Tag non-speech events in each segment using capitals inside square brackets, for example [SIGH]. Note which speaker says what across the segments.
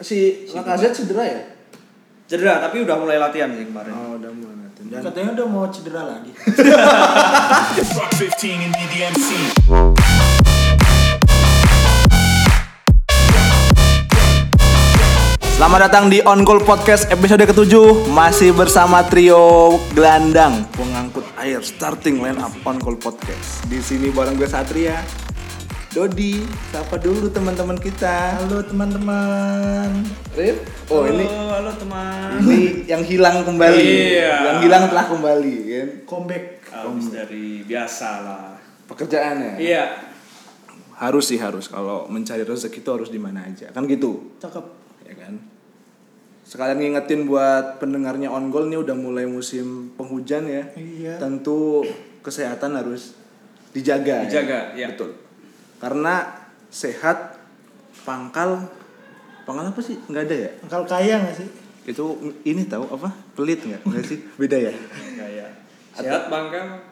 Speaker 1: si Lacazette cedera ya?
Speaker 2: Cedera tapi udah mulai latihan sih kemarin.
Speaker 1: Oh, udah mulai latihan. Dan
Speaker 3: Katanya udah mau cedera lagi.
Speaker 4: Rock 15 and be the MC.
Speaker 5: Selamat datang di On Goal Podcast episode ke-7 Masih bersama trio gelandang Pengangkut air starting line up On Goal Podcast Di sini bareng gue Satria Dodi, sapa dulu teman-teman kita
Speaker 3: Halo teman-teman.
Speaker 5: Rip, oh ini
Speaker 2: Halo, halo teman.
Speaker 5: ini yang hilang kembali
Speaker 2: Iya.
Speaker 5: Yang hilang telah kembali kan
Speaker 3: Comeback.
Speaker 2: Abis dari biasa lah.
Speaker 5: Pekerjaannya
Speaker 2: Iya.
Speaker 5: Harus sih harus, kalau mencari rezeki itu harus di mana aja Kan gitu
Speaker 3: Cakep.
Speaker 5: ya kan sekalian ngingetin buat pendengarnya on goal nih udah mulai musim penghujan ya
Speaker 3: Iya.
Speaker 5: tentu kesehatan harus dijaga
Speaker 2: Dijaga, ya.
Speaker 5: betul karena sehat pangkal pangkal apa sih nggak ada ya
Speaker 3: Angkal kaya gak sih?
Speaker 5: itu ini tahu apa pelit nggak nggak sih beda ya
Speaker 2: Kayak Iya, sehat bangkang.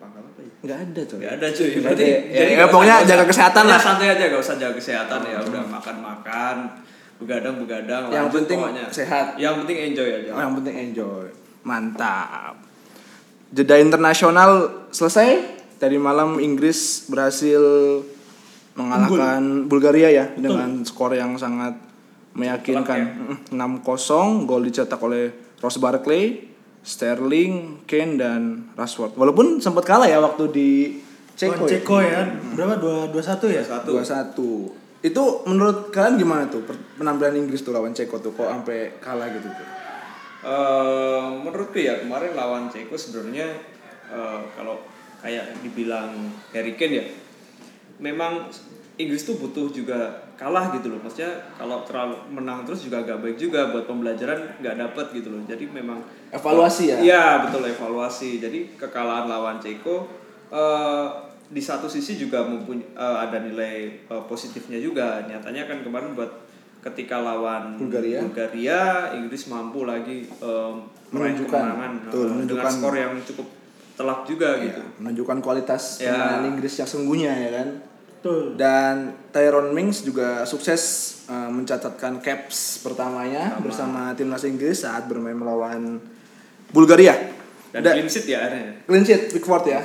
Speaker 2: Bangkang apa ya?
Speaker 5: nggak ada tuh
Speaker 2: Gak ada cuy.
Speaker 5: Nggak
Speaker 2: Berarti
Speaker 5: ada. Ya, ya,
Speaker 2: nggak usah-
Speaker 5: pokoknya
Speaker 2: nggak usah-
Speaker 5: jaga kesehatan
Speaker 2: pokoknya
Speaker 5: lah.
Speaker 2: Santai aja gak usah jaga kesehatan ya. Udah makan-makan, begadang-begadang.
Speaker 5: Yang
Speaker 2: lanjut
Speaker 5: penting
Speaker 2: pokoknya.
Speaker 5: sehat.
Speaker 2: Yang penting enjoy aja.
Speaker 5: yang penting enjoy mantap jeda internasional selesai tadi malam Inggris berhasil mengalahkan Bulgaria ya dengan skor yang sangat meyakinkan Mm, 6-0 gol dicetak oleh Ross Barkley Sterling Kane dan Rashford walaupun sempat kalah ya waktu di Ceko
Speaker 3: Lawan
Speaker 5: ya?
Speaker 3: Ceko ya. Berapa? Dua, dua satu ya?
Speaker 2: Satu.
Speaker 5: 2-1 itu menurut kalian gimana tuh per- penampilan Inggris tuh lawan Ceko tuh kok sampai kalah gitu tuh
Speaker 2: Eh, menurutku ya kemarin lawan Ceko sebenarnya eh, kalau kayak dibilang Harry Kane ya memang Inggris tuh butuh juga kalah gitu loh maksudnya kalau terlalu menang terus juga agak baik juga buat pembelajaran nggak dapet gitu loh jadi memang
Speaker 5: evaluasi ya
Speaker 2: Iya betul evaluasi. Jadi kekalahan lawan Ceko eh, di satu sisi juga mempuny- eh, ada nilai eh, positifnya juga. Nyatanya kan kemarin buat ketika lawan
Speaker 5: Bulgaria.
Speaker 2: Bulgaria, Inggris mampu lagi eh, meraih
Speaker 5: Menunjukkan.
Speaker 2: kemenangan eh,
Speaker 5: Betul,
Speaker 2: dengan
Speaker 5: menunjukkan. Iya.
Speaker 2: skor yang cukup telak juga gitu.
Speaker 5: menunjukkan kualitas
Speaker 2: Ya.
Speaker 5: pemain Inggris yang sungguhnya ya kan.
Speaker 3: Betul.
Speaker 5: Dan Tyrone Mings juga sukses eh, mencatatkan caps pertamanya bersama timnas Inggris saat bermain melawan Bulgaria.
Speaker 2: Dan
Speaker 5: Da-
Speaker 2: clean sheet ya akhirnya.
Speaker 5: clean sheet Pickford ya.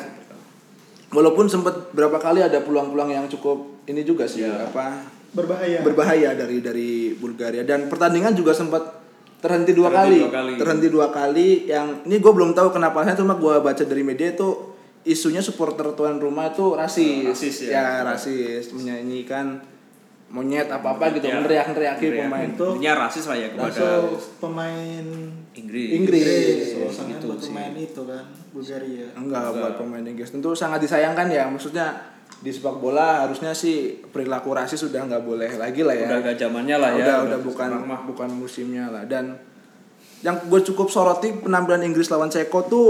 Speaker 5: Walaupun sempat berapa kali ada peluang-peluang yang cukup ini juga sih
Speaker 2: Ya.
Speaker 5: apa
Speaker 3: Berbahaya.
Speaker 5: berbahaya dari dari Bulgaria dan pertandingan juga sempat terhenti dua,
Speaker 2: Terhenti
Speaker 5: kali.
Speaker 2: dua kali.
Speaker 5: terhenti dua kali yang ini gue belum tahu kenapa saya cuma gue baca dari media itu isunya supporter tuan rumah itu rasis,
Speaker 2: Rasis, ya.
Speaker 5: rasis menyanyikan monyet apa apa gitu
Speaker 2: Ya.
Speaker 5: meneriak-neriaki
Speaker 2: Teriak.
Speaker 5: pemain
Speaker 3: Itu
Speaker 2: Intinya rasis lah ya kepada
Speaker 3: Masuk pemain
Speaker 2: Inggris.
Speaker 5: Inggris.
Speaker 3: Inggris. Soalnya
Speaker 2: gitu
Speaker 3: buat
Speaker 2: sih.
Speaker 3: pemain itu kan. Bulgaria.
Speaker 5: enggak buat pemain Inggris tentu sangat disayangkan ya maksudnya di sepak bola harusnya sih perilaku rasis sudah nggak boleh lagi lah ya
Speaker 2: Udah gak zamannya lah ya.
Speaker 5: udah udah bukan
Speaker 2: sekarang mah.
Speaker 5: bukan musimnya lah dan yang gue cukup soroti penampilan Inggris lawan Ceko tuh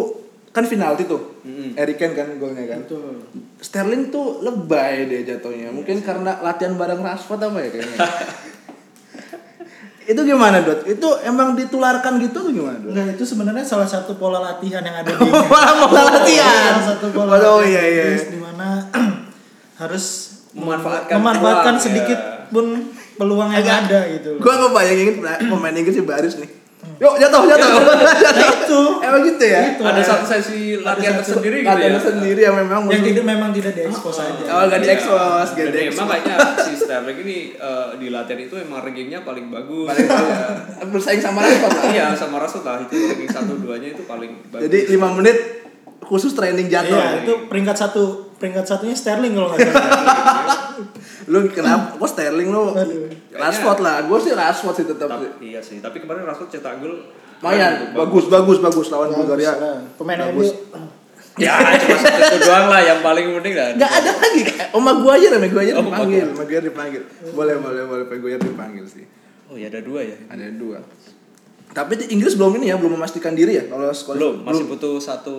Speaker 5: kan penalti tuh Harry Kane kan golnya kan
Speaker 3: Betul.
Speaker 5: Sterling tuh lebay dia jatuhnya mungkin karena latihan bareng Rashford apa ya kayaknya [LAUGHS] itu gimana dot itu emang ditularkan gitu atau gimana dot
Speaker 3: Enggak, itu sebenarnya salah satu pola latihan yang ada
Speaker 5: [LAUGHS]
Speaker 3: di
Speaker 5: Pola- pola latihan.
Speaker 3: Salah satu pola
Speaker 5: Oh,
Speaker 3: latihan
Speaker 5: iya, iya.
Speaker 3: Inggris di mana [CLEARS THROAT] harus
Speaker 2: Memanfaatkan
Speaker 3: memanfaatkan
Speaker 2: peluang,
Speaker 3: sedikit
Speaker 2: ya.
Speaker 3: pun peluang yang
Speaker 5: iya. Agak-
Speaker 3: ada gitu.
Speaker 5: gue ngebayangin [CLEARS THROAT] pemain Inggris si baris nih yuk jatuh [LAUGHS] jatuh Nah, jatuh
Speaker 3: Itu.
Speaker 5: emang gitu ya
Speaker 3: Itu.
Speaker 2: Ada satu sesi latihan
Speaker 3: satu
Speaker 2: tersendiri Iya. gitu
Speaker 5: latihan
Speaker 2: ya.
Speaker 5: sendiri yang memang
Speaker 3: yang
Speaker 5: mesti-
Speaker 3: tidak memang tidak diekspos aja.
Speaker 5: Oh, gak diekspos, gak
Speaker 2: Dan
Speaker 5: diekspos.
Speaker 2: Emang kayaknya si Sterling ini eh, di latihan itu emang rankingnya paling bagus.
Speaker 5: paling tahu ya. [LAUGHS] bersaing sama Rashford lah.
Speaker 2: iya sama Rasul lah itu ranking satu duanya itu paling bagus.
Speaker 5: Jadi 5 menit khusus training jatuh.
Speaker 3: Iya, itu peringkat satu peringkat satunya Sterling kalau
Speaker 5: [LAUGHS]
Speaker 3: nggak salah.
Speaker 5: Lu kenapa? Gua Sterling lu.
Speaker 3: Aduh.
Speaker 5: Rashford lah. Gua sih Rashford sih tetap.
Speaker 2: tapi, iya sih. Tapi kemarin Rasul cetak gol.
Speaker 5: Lumayan bagus bagus bagus lawan Bulgaria.
Speaker 3: Bagus lah. Pemain
Speaker 5: Bagus.
Speaker 3: MU
Speaker 2: Ya cuma satu itu doang lah yang paling penting lah.
Speaker 5: Gak ada lagi. Oma gua aja namanya gua aja
Speaker 2: Oh,
Speaker 5: dipanggil. Oma gua dipanggil. Boleh boleh boleh Pak Guayer dipanggil sih.
Speaker 2: Oh ya ada dua ya.
Speaker 5: Ada dua. Tapi di Inggris belum ini ya, belum memastikan diri ya kalau sekolah.
Speaker 2: Belum masih butuh satu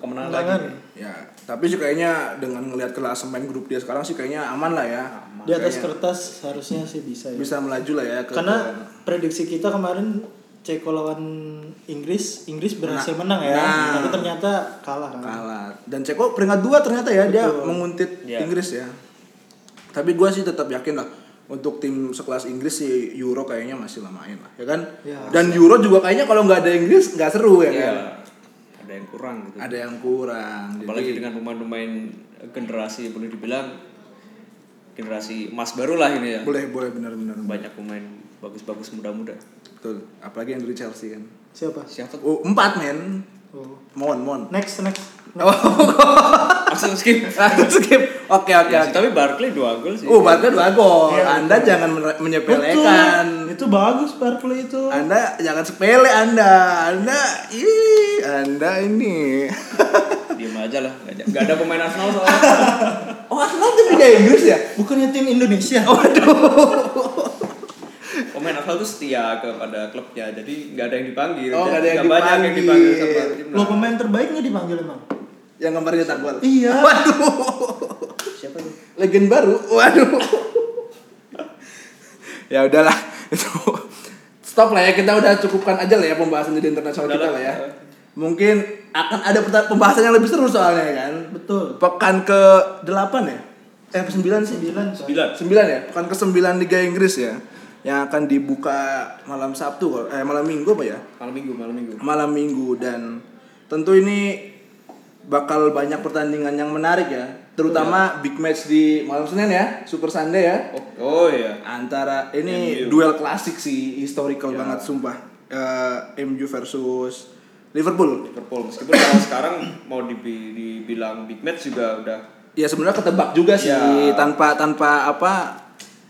Speaker 2: kemenangan
Speaker 3: Kemenangan.
Speaker 2: lagi.
Speaker 5: Ya, tapi sih kayaknya dengan ngelihat kelasemen grup dia sekarang sih kayaknya aman lah ya.
Speaker 3: di atas
Speaker 5: Kayaknya
Speaker 3: kertas harusnya sih bisa ya.
Speaker 5: bisa melaju lah ya ke
Speaker 3: Karena prediksi kita kemarin Ceko lawan Inggris, Inggris berhasil
Speaker 5: Menang.
Speaker 3: menang ya.
Speaker 5: Nah.
Speaker 3: Tapi ternyata kalah kan.
Speaker 5: kalah dan Ceko peringkat dua ternyata ya dia menguntit
Speaker 2: Iya.
Speaker 5: Inggris ya tapi gue sih tetap yakin lah untuk tim sekelas Inggris sih Euro kayaknya masih lamain lah ya kan
Speaker 3: Ya.
Speaker 5: dan Euro juga kayaknya kalau nggak ada Inggris nggak seru ya
Speaker 2: Iya,
Speaker 5: kan
Speaker 2: ada yang kurang gitu.
Speaker 5: ada yang kurang
Speaker 2: Apalagi dengan pemain-pemain generasi boleh dibilang generasi emas baru lah ini ya.
Speaker 5: boleh boleh benar-benar
Speaker 2: Banyak pemain bagus-bagus muda-muda.
Speaker 5: betul apalagi yang dari Chelsea kan
Speaker 3: Siapa?
Speaker 5: [LAUGHS]
Speaker 2: Siapa?
Speaker 5: oh empat men
Speaker 3: Oh.
Speaker 5: mohon mohon
Speaker 3: Next, next.
Speaker 2: Langsung skip.
Speaker 5: Langsung [LAUGHS] skip oke oke
Speaker 2: Ya,
Speaker 5: oke.
Speaker 2: tapi Barkley dua gol sih.
Speaker 5: Iya, Oh, Barca dua gol.
Speaker 3: Iya,
Speaker 5: Anda jangan men- menyepelekan.
Speaker 3: Betul. Itu bagus Barkley itu.
Speaker 5: Anda jangan sepele Anda. Anda ih, Anda ini.
Speaker 2: Diam aja lah. Gak, ada- gak ada pemain Arsenal
Speaker 5: [LAUGHS]
Speaker 2: soalnya.
Speaker 5: Oh, Arsenal tim Liga Inggris ya?
Speaker 3: Bukannya tim Indonesia.
Speaker 5: Oh.
Speaker 2: pemain Arsenal tuh setia kepada klubnya. Jadi gak ada yang dipanggil.
Speaker 5: Oh, nggak ada yang
Speaker 2: Nggak banyak yang
Speaker 5: dipanggil.
Speaker 2: dipanggil sama timnas.
Speaker 3: Lo pemain terbaiknya dipanggil emang.
Speaker 5: Yang kemarin nyetak gol.
Speaker 3: Iya.
Speaker 5: Waduh.
Speaker 2: Siapa itu?
Speaker 5: Legend baru. Waduh. ya udahlah. Itu stop lah ya. Kita udah cukupkan aja lah ya pembahasan di internasional kita lah
Speaker 2: Udahlah.
Speaker 5: ya. Mungkin akan ada perta- pembahasan yang lebih seru soalnya ya kan.
Speaker 3: Betul.
Speaker 5: Pekan ke 8 ya? Eh, 9 sih.
Speaker 3: 9 coy.
Speaker 2: Sembilan.
Speaker 5: 9 ya, pekan ke-9 Liga Inggris ya. Yang akan dibuka malam Sabtu kalau- eh malam Minggu apa ya?
Speaker 2: Malam minggu, malam minggu.
Speaker 5: Malam Minggu dan tentu ini bakal banyak pertandingan yang menarik ya,
Speaker 2: Iya.
Speaker 5: terutama big match di malam Senin ya, Super Sunday ya.
Speaker 2: Oh, oh iya.
Speaker 5: Antara ini
Speaker 2: MU.
Speaker 5: duel klasik sih, historical
Speaker 2: Iya.
Speaker 5: banget sumpah. Eh, MU versus Liverpool.
Speaker 2: Liverpool meskipun kalau sekarang mau dibi- dibilang big match juga udah
Speaker 5: Ya sebenarnya ketebak juga sih
Speaker 2: Ya.
Speaker 5: tanpa tanpa apa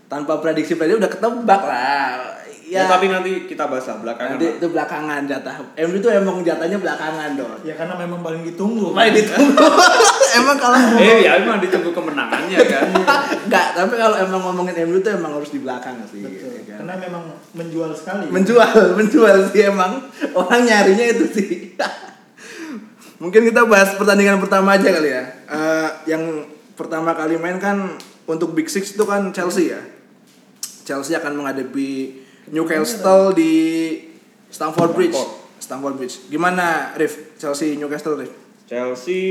Speaker 5: tanpa prediksi prediksi udah ketebak lah.
Speaker 2: ya, tapi nanti kita bahas lah belakangan
Speaker 5: Iya. Nanti
Speaker 2: lah.
Speaker 5: itu belakangan jatah. MU itu emang jatahnya belakangan dong.
Speaker 3: Ya karena memang paling ditunggu.
Speaker 5: Main ditunggu. emang kalau
Speaker 2: eh ya emang ditunggu kemenangannya kan
Speaker 5: enggak, tapi kalau emang ngomongin MU itu emang harus di belakang sih.
Speaker 3: Betul.
Speaker 5: ya kan?
Speaker 3: Karena memang menjual sekali.
Speaker 5: Menjual, menjual sih emang orang nyarinya itu sih. Mungkin kita bahas pertandingan pertama aja kali ya. Eh, yang pertama kali main kan untuk Big Six itu kan Chelsea ya. Chelsea akan menghadapi Newcastle di Stamford Bridge. Stamford Bridge. Gimana, Rif? Chelsea Newcastle, Rif?
Speaker 2: Chelsea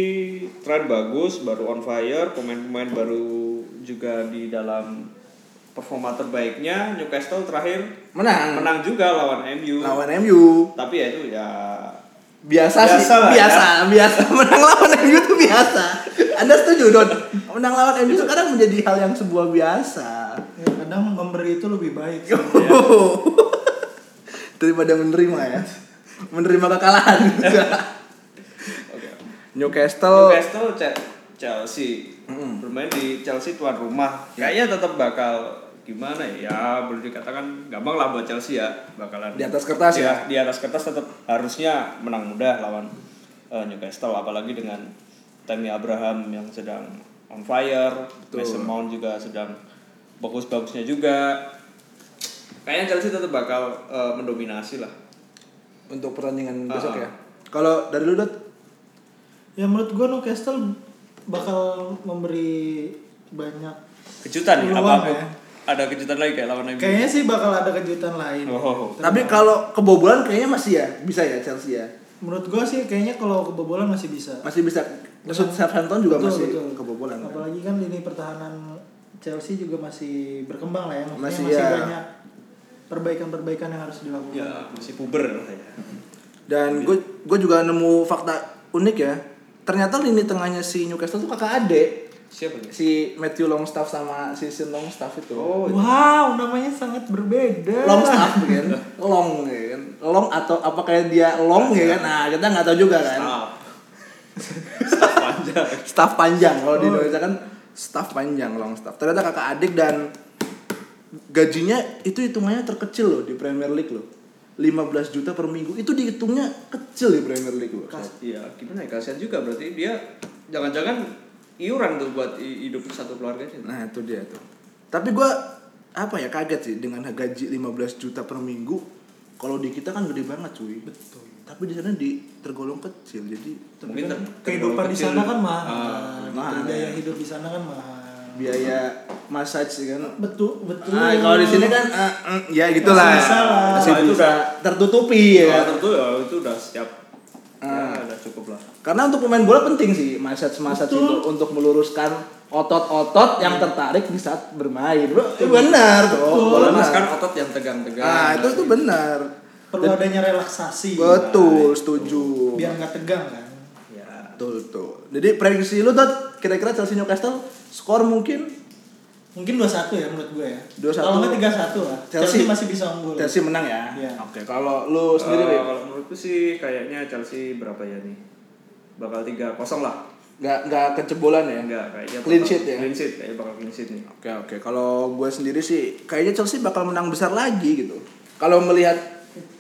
Speaker 2: tren bagus baru on fire pemain-pemain baru juga di dalam performa terbaiknya Newcastle terakhir
Speaker 5: Menang.
Speaker 2: menang juga lawan MU
Speaker 5: lawan MU
Speaker 2: tapi ya itu ya
Speaker 5: biasa, sih
Speaker 2: Biasa lah, ya.
Speaker 5: biasa biasa [LAUGHS] menang lawan MU itu biasa Anda setuju Don menang lawan MU sekarang menjadi hal yang sebuah biasa
Speaker 3: Ya, kadang memberi itu lebih baik.
Speaker 2: Iya.
Speaker 3: sih.
Speaker 5: [LAUGHS] daripada menerima ya menerima kekalahan juga
Speaker 2: oke.
Speaker 5: Newcastle
Speaker 2: [LAUGHS] Newcastle Ce- Chelsea bermain di Chelsea tuan rumah kayaknya tetap bakal gimana ya? ya boleh dikatakan gampang lah buat Chelsea ya bakalan
Speaker 5: Di atas kertas ya?
Speaker 2: Iya, di atas kertas tetap harusnya menang mudah lawan eh, Newcastle apalagi dengan Tammy Abraham yang sedang on fire Mason Mount juga sedang bagus-bagusnya juga kayaknya Chelsea tetap bakal eh, mendominasi lah
Speaker 5: untuk pertandingan besok
Speaker 2: Ah.
Speaker 5: ya kalau dari lu Dot
Speaker 3: Ya menurut gua Newcastle bakal memberi banyak.
Speaker 2: kejutan ya
Speaker 3: Peluang
Speaker 2: apa
Speaker 3: ya.
Speaker 2: ada kejutan lagi kayak lawan MU
Speaker 3: Kayaknya sih bakal ada kejutan lain.
Speaker 2: Oh.
Speaker 5: tapi kalau kebobolan kayaknya masih ya bisa ya Chelsea ya
Speaker 3: Menurut gua sih kayaknya kalau kebobolan masih bisa.
Speaker 5: masih bisa Maksud Southampton juga
Speaker 3: Betul,
Speaker 5: masih
Speaker 3: betul.
Speaker 5: kebobolan kan?
Speaker 3: Apalagi kan lini pertahanan Chelsea juga masih berkembang lah ya. Maksudnya
Speaker 5: Masih,
Speaker 3: masih,
Speaker 5: ya.
Speaker 3: banyak perbaikan-perbaikan yang harus dilakukan.
Speaker 2: ya masih puber lah ya
Speaker 5: Dan gue gue juga nemu fakta unik ya. Ternyata lini tengahnya si Newcastle tuh kakak adik
Speaker 2: siapa ya? nih
Speaker 5: si Matthew Longstaff sama si Sean Longstaff itu. Oh.
Speaker 3: iya. Wow, namanya sangat berbeda.
Speaker 5: Longstaff kan, long ya kan, long atau apa kayak dia long ya kan? Nah kita nggak tahu juga kan.
Speaker 2: staff staff
Speaker 5: Staff
Speaker 2: panjang
Speaker 5: panjang kalau di Indonesia kan staff panjang Longstaff. Ternyata kakak adik dan gajinya itu hitungannya terkecil loh di Premier League loh. 15 juta per minggu itu dihitungnya kecil di Premier League loh.
Speaker 2: iya gimana ya kasihan juga berarti dia jangan-jangan iuran tuh buat i- hidup satu keluarga aja
Speaker 5: Nah itu dia tuh. Tapi gua apa ya kaget sih dengan gaji 15 juta per minggu. Kalau di kita kan gede banget cuy. Betul. Tapi di sana di tergolong kecil jadi
Speaker 2: mungkin ter-
Speaker 3: Kehidupan di sana kan mahal.
Speaker 5: Ah,
Speaker 3: gitu.
Speaker 5: mahal.
Speaker 3: Biaya hidup di sana kan mahal.
Speaker 5: biaya massage sih kan.
Speaker 3: Betul, betul.
Speaker 5: Ah, kalau di sini kan eh, eh, ya gitulah.
Speaker 3: Masih bisa lah.
Speaker 5: Masih
Speaker 2: Nah, itu
Speaker 5: bisa
Speaker 2: udah-
Speaker 5: tertutupi ya.
Speaker 2: ya
Speaker 5: kan. Ah.
Speaker 2: tentu ya itu udah siap ya udah cukup lah
Speaker 5: Karena untuk pemain bola penting sih mindset-mindset itu untuk meluruskan otot-otot yang tertarik di saat bermain. Bro, itu benar tuh.
Speaker 2: Bola mas kan otot yang tegang-tegang.
Speaker 5: Nah, itu tuh benar.
Speaker 3: Perlu adanya relaksasi.
Speaker 5: Betul, setuju.
Speaker 3: Biar nggak tegang kan.
Speaker 2: Ya.
Speaker 5: Betul tuh. Jadi prediksi lu tuh kira-kira Chelsea Newcastle skor mungkin
Speaker 3: Mungkin 2-1 ya menurut gue ya.
Speaker 5: 2-1.
Speaker 3: Kalau nggak 3-1 lah.
Speaker 5: Chelsea.
Speaker 3: Chelsea, masih bisa unggul.
Speaker 5: Chelsea menang ya.
Speaker 3: Iya.
Speaker 5: Oke, kalau lu sendiri
Speaker 2: Eh,
Speaker 5: Wi?
Speaker 2: kalau menurutku sih kayaknya Chelsea berapa ya nih? Bakal 3-0 lah.
Speaker 5: nggak nggak kecebolan ya?
Speaker 2: Enggak, kayaknya
Speaker 5: Clean
Speaker 2: bakal-
Speaker 5: sheet ya?
Speaker 2: Clean sheet, kayaknya bakal clean sheet nih.
Speaker 5: Oke oke, kalau gue sendiri sih kayaknya Chelsea bakal menang besar lagi gitu. Kalau melihat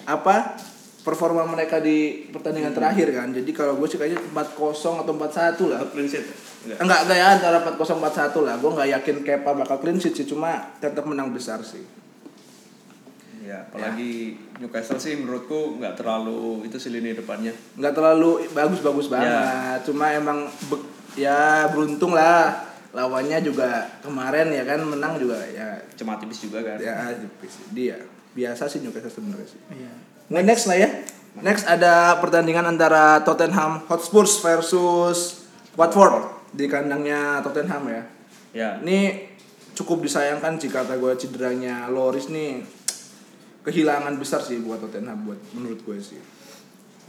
Speaker 5: apa performa mereka di pertandingan terakhir kan, jadi kalau gue sih kayaknya 4-0 atau 4-1 lah.
Speaker 2: Atau clean sheet? Enggak.
Speaker 5: Enggak enggak ya antara 4-0 4-1 lah. Gue nggak yakin Kepa bakal clean sheet sih, cuma tetap menang besar sih.
Speaker 2: Ya, apalagi Newcastle sih menurutku nggak terlalu itu sih lini depannya.
Speaker 5: Nggak terlalu bagus-bagus banget, cuma emang be- ya beruntung lah lawannya juga kemarin ya kan menang juga ya
Speaker 2: Cuma tipis juga kan.
Speaker 5: ya tipis. dia biasa sih Newcastle sebenarnya sih.
Speaker 3: Iya.
Speaker 5: Nah, next lah ya. Next ada pertandingan antara Tottenham Hotspur versus Watford di kandangnya Tottenham ya.
Speaker 2: Ya.
Speaker 5: Ini cukup disayangkan jika kata gue cederanya Loris nih kehilangan besar sih buat Tottenham buat menurut gue sih.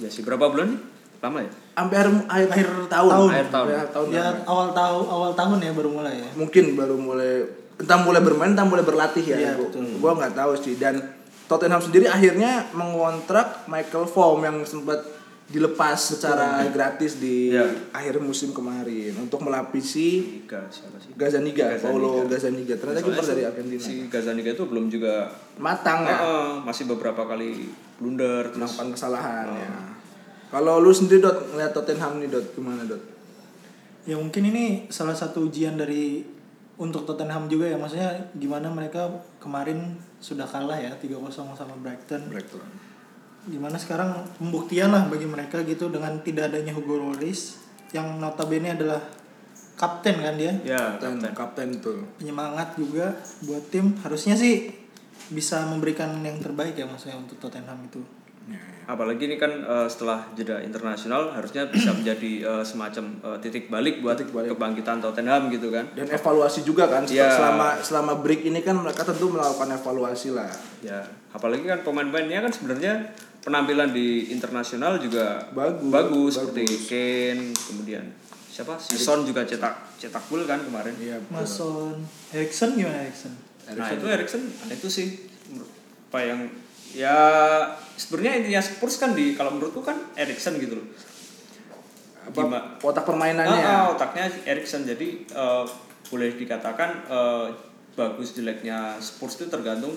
Speaker 2: Ya sih berapa bulan nih? Lama ya?
Speaker 5: Sampai akhir, akhir, tahun,
Speaker 3: tahun.
Speaker 2: Akhir tahun.
Speaker 5: Sampai akhir tahun
Speaker 3: Ya
Speaker 5: namanya.
Speaker 3: awal tahun awal tahun ya baru mulai ya.
Speaker 5: mungkin baru mulai entah mulai bermain entah mulai berlatih ya.
Speaker 3: Iya,
Speaker 5: Gua-
Speaker 3: betul.
Speaker 5: gua nggak tahu sih dan Tottenham sendiri akhirnya mengontrak Michael Form yang sempat dilepas secara gratis di
Speaker 2: Iya.
Speaker 5: akhir musim kemarin untuk melapisi
Speaker 2: Tiga siapa sih?
Speaker 5: Gazaniga,
Speaker 2: Gazaniga.
Speaker 5: Paulo Gazaniga. Ternyata kiper
Speaker 2: Soalnya
Speaker 5: dari
Speaker 2: si-
Speaker 5: Argentina.
Speaker 2: Si Gazaniga itu belum juga
Speaker 5: Matang ya,
Speaker 3: Oh,
Speaker 2: Heeh, masih beberapa kali blunder terus
Speaker 5: melakukan kesalahan
Speaker 3: Oh.
Speaker 5: ya. Kalau lu sendiri Dot ngeliat Tottenham nih Dot gimana Dot?
Speaker 3: Ya mungkin ini salah satu ujian dari untuk Tottenham juga ya. Maksudnya gimana mereka kemarin sudah kalah ya 3-0 sama Brighton.
Speaker 5: Breakthrough.
Speaker 3: Gimana sekarang pembuktian lah bagi mereka gitu dengan tidak adanya Hugo Lloris yang notabene adalah kapten kan dia.
Speaker 2: ya
Speaker 5: Kapten,
Speaker 2: kapten.
Speaker 5: kapten tuh.
Speaker 3: Penyemangat juga buat tim. Harusnya sih bisa memberikan yang terbaik ya maksudnya untuk Tottenham itu.
Speaker 5: Ya.
Speaker 2: Apalagi ini kan eh, setelah jeda internasional harusnya bisa menjadi eh, semacam eh, titik balik buat kebangkitan Tottenham gitu kan.
Speaker 5: dan evaluasi juga kan
Speaker 2: Iya.
Speaker 5: selama selama break ini kan mereka tentu melakukan evaluasi lah
Speaker 2: Ya, apalagi kan pemain-pemainnya kan sebenarnya penampilan di internasional juga
Speaker 5: Bagus,
Speaker 2: seperti Kane, kemudian siapa? Si Son juga cetak cetak gol kan kemarin.
Speaker 5: iya
Speaker 3: Mason Erikson gimana Erikson?
Speaker 2: Nah, itu Erikson aneh itu sih menurut- apa yang ya sebenarnya intinya Spurs kan di kalau menurutku kan Erikson gitu loh.
Speaker 5: apa
Speaker 2: Gimana?
Speaker 5: otak permainannya
Speaker 2: Ah, ah, otaknya Erikson jadi eh, boleh dikatakan eh, bagus jeleknya Spurs itu tergantung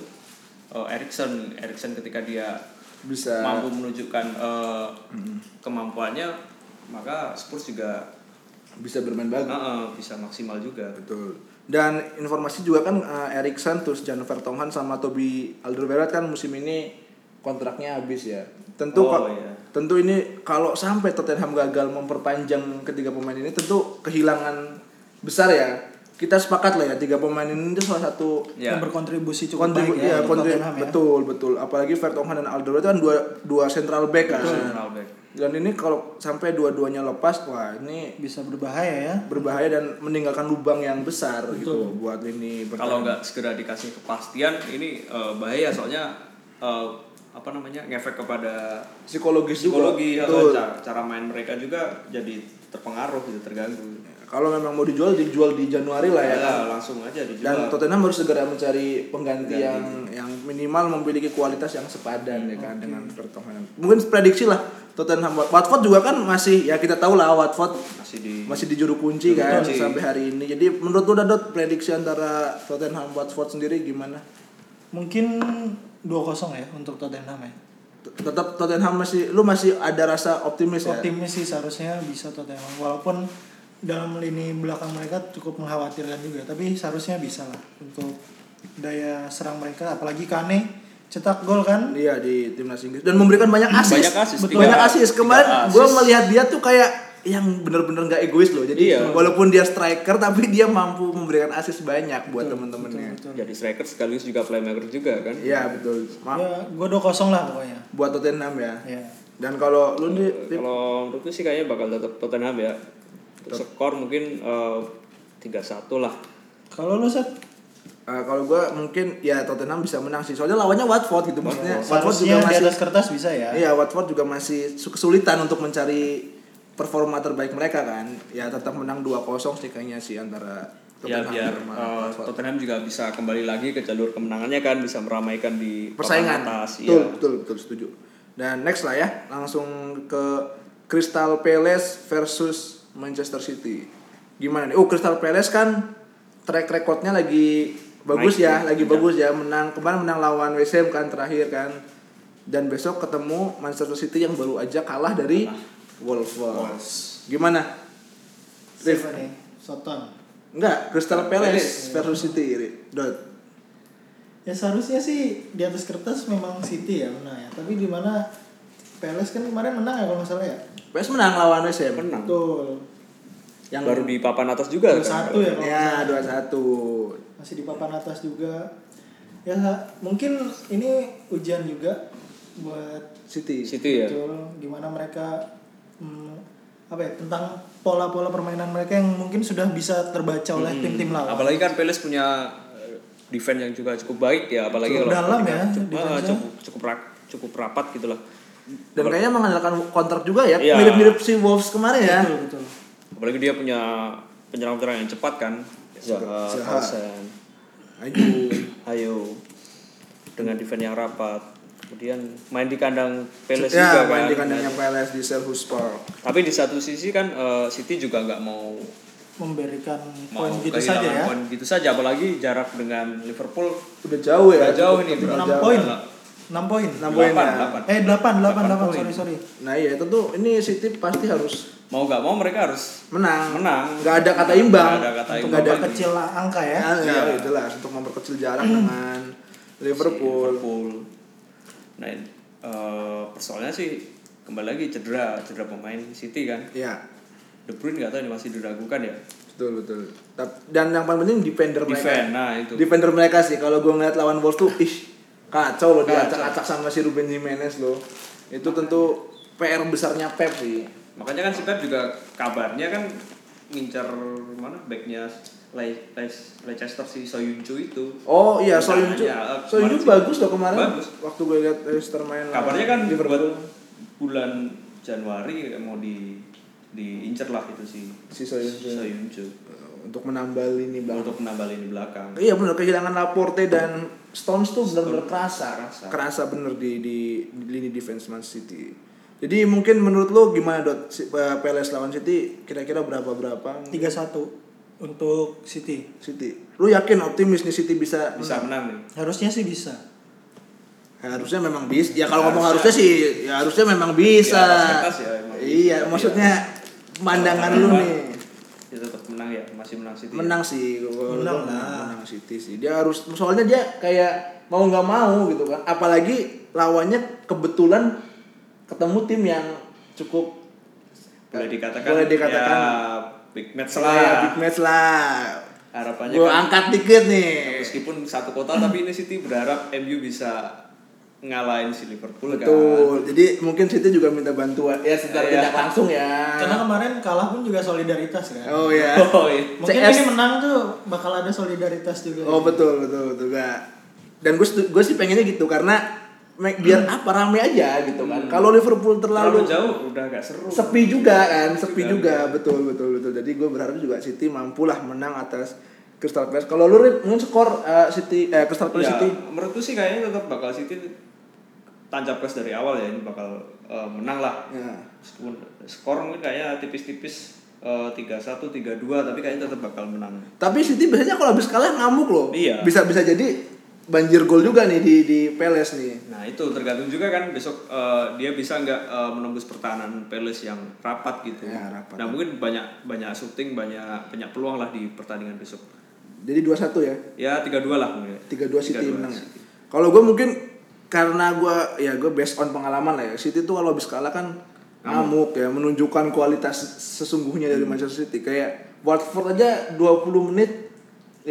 Speaker 2: eh, Erikson. Erikson ketika dia
Speaker 5: bisa
Speaker 2: mampu menunjukkan eh, kemampuannya maka Spurs juga
Speaker 5: bisa bermain bagus
Speaker 2: eh, eh, bisa maksimal juga.
Speaker 5: betul dan informasi juga kan eh, Erikson terus Jan Vertonghen sama Toby Alderweireld kan musim ini kontraknya habis ya tentu
Speaker 2: Oh,
Speaker 5: kok
Speaker 2: iya.
Speaker 5: tentu ini kalau sampai Tottenham gagal memperpanjang ketiga pemain ini tentu kehilangan besar ya kita sepakat lah ya tiga pemain ini itu salah satu
Speaker 2: Ya.
Speaker 3: Yang berkontribusi cukup
Speaker 5: Kontribu-
Speaker 3: baik ya,
Speaker 5: iya,
Speaker 3: untuk
Speaker 5: kontribu-
Speaker 3: Tottenham ya.
Speaker 5: betul betul apalagi Vertonghen dan Alderweireld itu kan dua dua central back kan
Speaker 2: Personal back.
Speaker 5: dan ini kalau sampai dua-duanya lepas wah ini
Speaker 3: Bisa berbahaya ya.
Speaker 5: berbahaya dan meninggalkan lubang yang besar gitu buat ini
Speaker 2: Kalau nggak segera dikasih kepastian ini eh, bahaya soalnya eh, apa namanya ngefek kepada
Speaker 5: psikologis juga
Speaker 2: psikologi
Speaker 5: Betul.
Speaker 2: atau cara, cara main mereka juga jadi terpengaruh gitu terganggu.
Speaker 5: kalau memang mau dijual dijual di Januari lah ya
Speaker 3: Iya,
Speaker 2: Ya,
Speaker 5: kan?
Speaker 2: langsung aja dijual.
Speaker 5: dan Tottenham harus segera mencari pengganti yang yang minimal memiliki kualitas yang sepadan ya kan dengan Vertonghen mungkin prediksi lah Tottenham Watford juga kan masih ya kita tahu lah Watford
Speaker 2: masih di
Speaker 5: masih di juru kunci kan
Speaker 2: kunci.
Speaker 5: sampai hari ini. Jadi menurut lu Dadot prediksi antara Tottenham Watford sendiri gimana?
Speaker 3: Mungkin 2-0 ya untuk Tottenham ya.
Speaker 5: T- Tetap Tottenham masih lu masih ada rasa optimis ya?
Speaker 3: Optimis sih seharusnya bisa Tottenham walaupun dalam lini belakang mereka cukup mengkhawatirkan juga tapi seharusnya bisa lah untuk daya serang mereka apalagi Kane cetak gol kan
Speaker 5: Iya di timnas Inggris dan memberikan banyak asis.
Speaker 2: Banyak asis,
Speaker 5: Betul.
Speaker 2: tiga-
Speaker 5: Banyak asis. Kemarin
Speaker 2: tiga asis.
Speaker 5: gue melihat dia tuh kayak yang bener-bener nggak egois loh. Jadi
Speaker 2: Iya.
Speaker 5: walaupun dia striker tapi dia mampu memberikan asis banyak buat temen-temennya.
Speaker 2: jadi striker sekaligus juga playmaker juga kan
Speaker 5: Iya betul. Ma-
Speaker 3: ya gue 2-0 lah pokoknya
Speaker 5: Buat Tottenham ya.
Speaker 3: ya
Speaker 5: Dan kalau lu nih, Pip,
Speaker 2: Kalau menurutku sih kayaknya bakal tetap Tottenham ya. Untuk Skor mungkin eh, tiga satu lah.
Speaker 3: Kalau lu set
Speaker 5: eh, kalau gue mungkin ya Tottenham bisa menang sih. Soalnya lawannya Watford gitu maksudnya. Watford juga
Speaker 3: seharusnya di
Speaker 5: masih
Speaker 3: atas kertas bisa ya.
Speaker 5: Iya, Watford juga masih su- kesulitan untuk mencari performa terbaik mereka kan. Ya tetap menang 2-0 sih kayaknya sih antara
Speaker 2: Ya biar
Speaker 5: sama
Speaker 2: eh,
Speaker 5: Watford.
Speaker 2: Tottenham juga bisa kembali lagi ke jalur kemenangannya kan bisa meramaikan di
Speaker 5: persaingan.
Speaker 2: papan atas.
Speaker 5: betul,
Speaker 2: Iya.
Speaker 5: betul, betul, setuju. Dan next lah ya, langsung ke Crystal Palace versus Manchester City. Gimana nih? Oh, Crystal Palace kan track recordnya lagi bagus
Speaker 2: Naik,
Speaker 5: ya,
Speaker 2: ya.
Speaker 5: lagi
Speaker 2: Iya.
Speaker 5: bagus ya. Menang kemarin menang lawan West Ham kan terakhir kan. Dan besok ketemu Manchester City yang baru aja kalah dari Wolves. Gimana? Rif?
Speaker 3: Siapa nih? Soton.
Speaker 5: Enggak, Crystal Palace
Speaker 2: Palace.
Speaker 5: versus City. Ri. Dot.
Speaker 3: Ya seharusnya sih di atas kertas memang City ya menang ya. Tapi di mana Palace kan kemarin menang ya kalau nggak salah ya.
Speaker 5: Palace menang lawan West Ham.
Speaker 2: Menang.
Speaker 3: Betul.
Speaker 5: Yang
Speaker 2: baru di papan atas juga kan?
Speaker 3: Dua satu ya kalau nggak
Speaker 5: Ya,
Speaker 3: salah.
Speaker 5: 2-1.
Speaker 3: masih di papan atas juga. Ya mungkin ini ujian juga buat
Speaker 5: City.
Speaker 2: City ya.
Speaker 3: Betul. Gimana mereka mm, apa ya tentang pola-pola permainan mereka yang mungkin sudah bisa terbaca oleh
Speaker 5: Hmm.
Speaker 3: tim-tim lawan.
Speaker 2: Apalagi kan Palace punya eh, defense yang juga cukup baik ya, apalagi
Speaker 3: Cukup
Speaker 2: kalau
Speaker 3: dalam
Speaker 2: ketika
Speaker 3: ya,
Speaker 2: cukup, ah,
Speaker 3: defense-nya.
Speaker 2: cukup cukup rak- cukup rapat gitulah.
Speaker 5: Dan kayaknya mengandalkan kontrak juga ya,
Speaker 2: Iya.
Speaker 5: mirip-mirip si Wolves kemarin ya.
Speaker 3: Betul betul.
Speaker 2: Apalagi dia punya penyerang-penyerang yang cepat kan.
Speaker 5: Iya.
Speaker 2: Zaha,
Speaker 5: Zaha.
Speaker 2: Paulsen,
Speaker 5: Aduh.
Speaker 2: Ayo dengan defense yang rapat. Kemudian main di kandang Palace
Speaker 5: ya,
Speaker 2: juga
Speaker 5: main
Speaker 2: kan.
Speaker 5: di kandangnya PLS di Selhurst Park.
Speaker 2: Tapi di satu sisi kan eh, City juga nggak mau
Speaker 3: Memberikan
Speaker 2: mau
Speaker 3: poin gitu
Speaker 2: kehilangan
Speaker 3: saja ya.
Speaker 2: poin gitu saja apalagi jarak dengan Liverpool
Speaker 5: Udah jauh ya.
Speaker 2: Udah jauh ini, bro.
Speaker 3: 6
Speaker 5: Jauh.
Speaker 3: poin. 6 poin.
Speaker 5: 6 poin
Speaker 2: Delapan,
Speaker 5: ya.
Speaker 2: delapan.
Speaker 3: Eh 8 8
Speaker 2: Delapan
Speaker 3: 8
Speaker 2: poin.
Speaker 3: sorry sorry.
Speaker 5: Nah iya tentu ini City pasti harus
Speaker 2: mau nggak mau mereka harus
Speaker 5: menang.
Speaker 2: Menang.
Speaker 5: Gak ada kata imbang.
Speaker 2: Nggak ada kata
Speaker 5: Untuk
Speaker 2: imbang.
Speaker 5: nggak ada
Speaker 3: Kecil lah angka ya.
Speaker 5: Ya, ya,
Speaker 2: Iya.
Speaker 5: jelas untuk memperkecil jarak dengan Liverpool.
Speaker 2: Liverpool. Nah, eh, persoalannya sih kembali lagi cedera, cedera pemain City kan.
Speaker 5: Ya,
Speaker 2: De Bruyne nggak tahu ini masih diragukan ya.
Speaker 5: betul betul. Tap- Dan yang paling penting defender mereka.
Speaker 2: Defend, nah itu.
Speaker 5: Gitu. Defender mereka sih kalau gue ngeliat lawan Wolves tuh ih kacau loh
Speaker 2: Kacau.
Speaker 5: diacak-acak sama si Ruben Jimenez loh. Itu tentu PR besarnya Pep sih.
Speaker 2: Makanya kan si Pep juga kabarnya kan ngincar mana backnya Le- Le- Leicester si Soyuncu itu.
Speaker 5: Oh iya,
Speaker 2: Nah,
Speaker 5: Soyuncu.
Speaker 2: ya,
Speaker 5: Soyuncu
Speaker 2: kemarin sih.
Speaker 5: bagus loh kemarin.
Speaker 2: Bagus.
Speaker 5: Waktu gue lihat Leicester main. lawan
Speaker 2: Kabarnya kan buat
Speaker 5: Liverpool.
Speaker 2: bulan Januari mau di diincer lah itu si
Speaker 5: Si Soyuncu.
Speaker 2: Soyuncu
Speaker 5: untuk menambah lini belakang.
Speaker 2: untuk menambah lini belakang.
Speaker 5: Iya benar kehilangan Laporte dan Stones tuh benar-benar kerasa.
Speaker 2: Kerasa.
Speaker 5: kerasa. bener di, di di lini defense Man City. Jadi mungkin menurut lo gimana Dot Si- eh, Palace lawan City kira-kira berapa berapa
Speaker 3: 3-1 untuk City.
Speaker 5: City? Lu yakin optimis nih City bisa
Speaker 2: Bisa menang nih.
Speaker 3: Harusnya sih bisa.
Speaker 5: Harusnya memang bisa. Ya kalau ngomong harusnya sih, ya harusnya memang bisa.
Speaker 2: Ya, atas kertas ya emang
Speaker 5: iya,
Speaker 2: bisa. Iya.
Speaker 5: maksudnya pandangan lu
Speaker 2: Kenapa?
Speaker 5: nih
Speaker 2: Ya tetap menang ya, masih menang City.
Speaker 5: menang sih kalau lu
Speaker 3: Menang
Speaker 5: bilang
Speaker 3: lah.
Speaker 5: menang City sih dia harus soalnya dia kayak mau nggak mau gitu kan apalagi lawannya kebetulan ketemu tim yang cukup eh,
Speaker 2: boleh dikatakan
Speaker 5: boleh dikatakan
Speaker 2: ya, big match lah
Speaker 5: ya, big match lah
Speaker 2: harapannya
Speaker 5: gue
Speaker 2: kan
Speaker 5: angkat dikit nih
Speaker 2: meskipun satu kota
Speaker 5: Hmm.
Speaker 2: tapi ini City berharap MU bisa ngalahin si Liverpool kan
Speaker 5: betul jadi mungkin City juga minta bantuan ya secara
Speaker 2: Iya. kan-
Speaker 5: tidak langsung ya
Speaker 3: Karena kemarin kalah pun juga solidaritas kan.
Speaker 5: oh ya
Speaker 2: [LAUGHS] oh, iya.
Speaker 3: Mungkin
Speaker 5: CS.
Speaker 3: ini menang tuh bakal ada solidaritas juga.
Speaker 5: Oh betul betul betul gak. Dan gue gue sih pengennya gitu karena me- biar apa rame aja gitu kan. Kalau Liverpool
Speaker 2: Hmm. terlalu
Speaker 5: terlalu
Speaker 2: jauh udah gak seru
Speaker 5: sepi juga kan, sepi
Speaker 2: Sepi iya.
Speaker 5: juga betul betul betul. Jadi gue berharap juga City mampulah menang atas Crystal Palace. Kalau lu Rip, mungkin skor eh, City eh Crystal Palace
Speaker 2: ya
Speaker 5: City
Speaker 2: menurutku sih kayaknya tetap bakal City tancap gas dari awal ya ini bakal eh, menang lah
Speaker 5: ya.
Speaker 2: meskipun skor mungkin kayaknya tipis-tipis eh, tiga satu tiga dua tapi kayaknya tetap bakal menang
Speaker 5: Tapi City biasanya kalau habis kalah ngamuk loh.
Speaker 2: Iya.
Speaker 5: Bisa bisa jadi banjir gol juga nih di di Palace nih.
Speaker 2: Nah itu tergantung juga kan besok eh, dia bisa nggak eh, menembus pertahanan Palace yang rapat gitu.
Speaker 5: Ya, rapat.
Speaker 2: Nah mungkin banyak banyak shooting banyak banyak peluang lah di pertandingan besok.
Speaker 5: Jadi 2-1 ya.
Speaker 2: Ya 3-2 lah mungkin.
Speaker 5: tiga dua City
Speaker 2: 3-2
Speaker 5: menang ya.
Speaker 2: City.
Speaker 5: Kalau gue mungkin karena gue ya gue based on pengalaman lah ya. City tuh kalau habis kalah kan ngamuk ya, menunjukkan kualitas sesungguhnya dari Manchester City. Kayak Watford aja 20 menit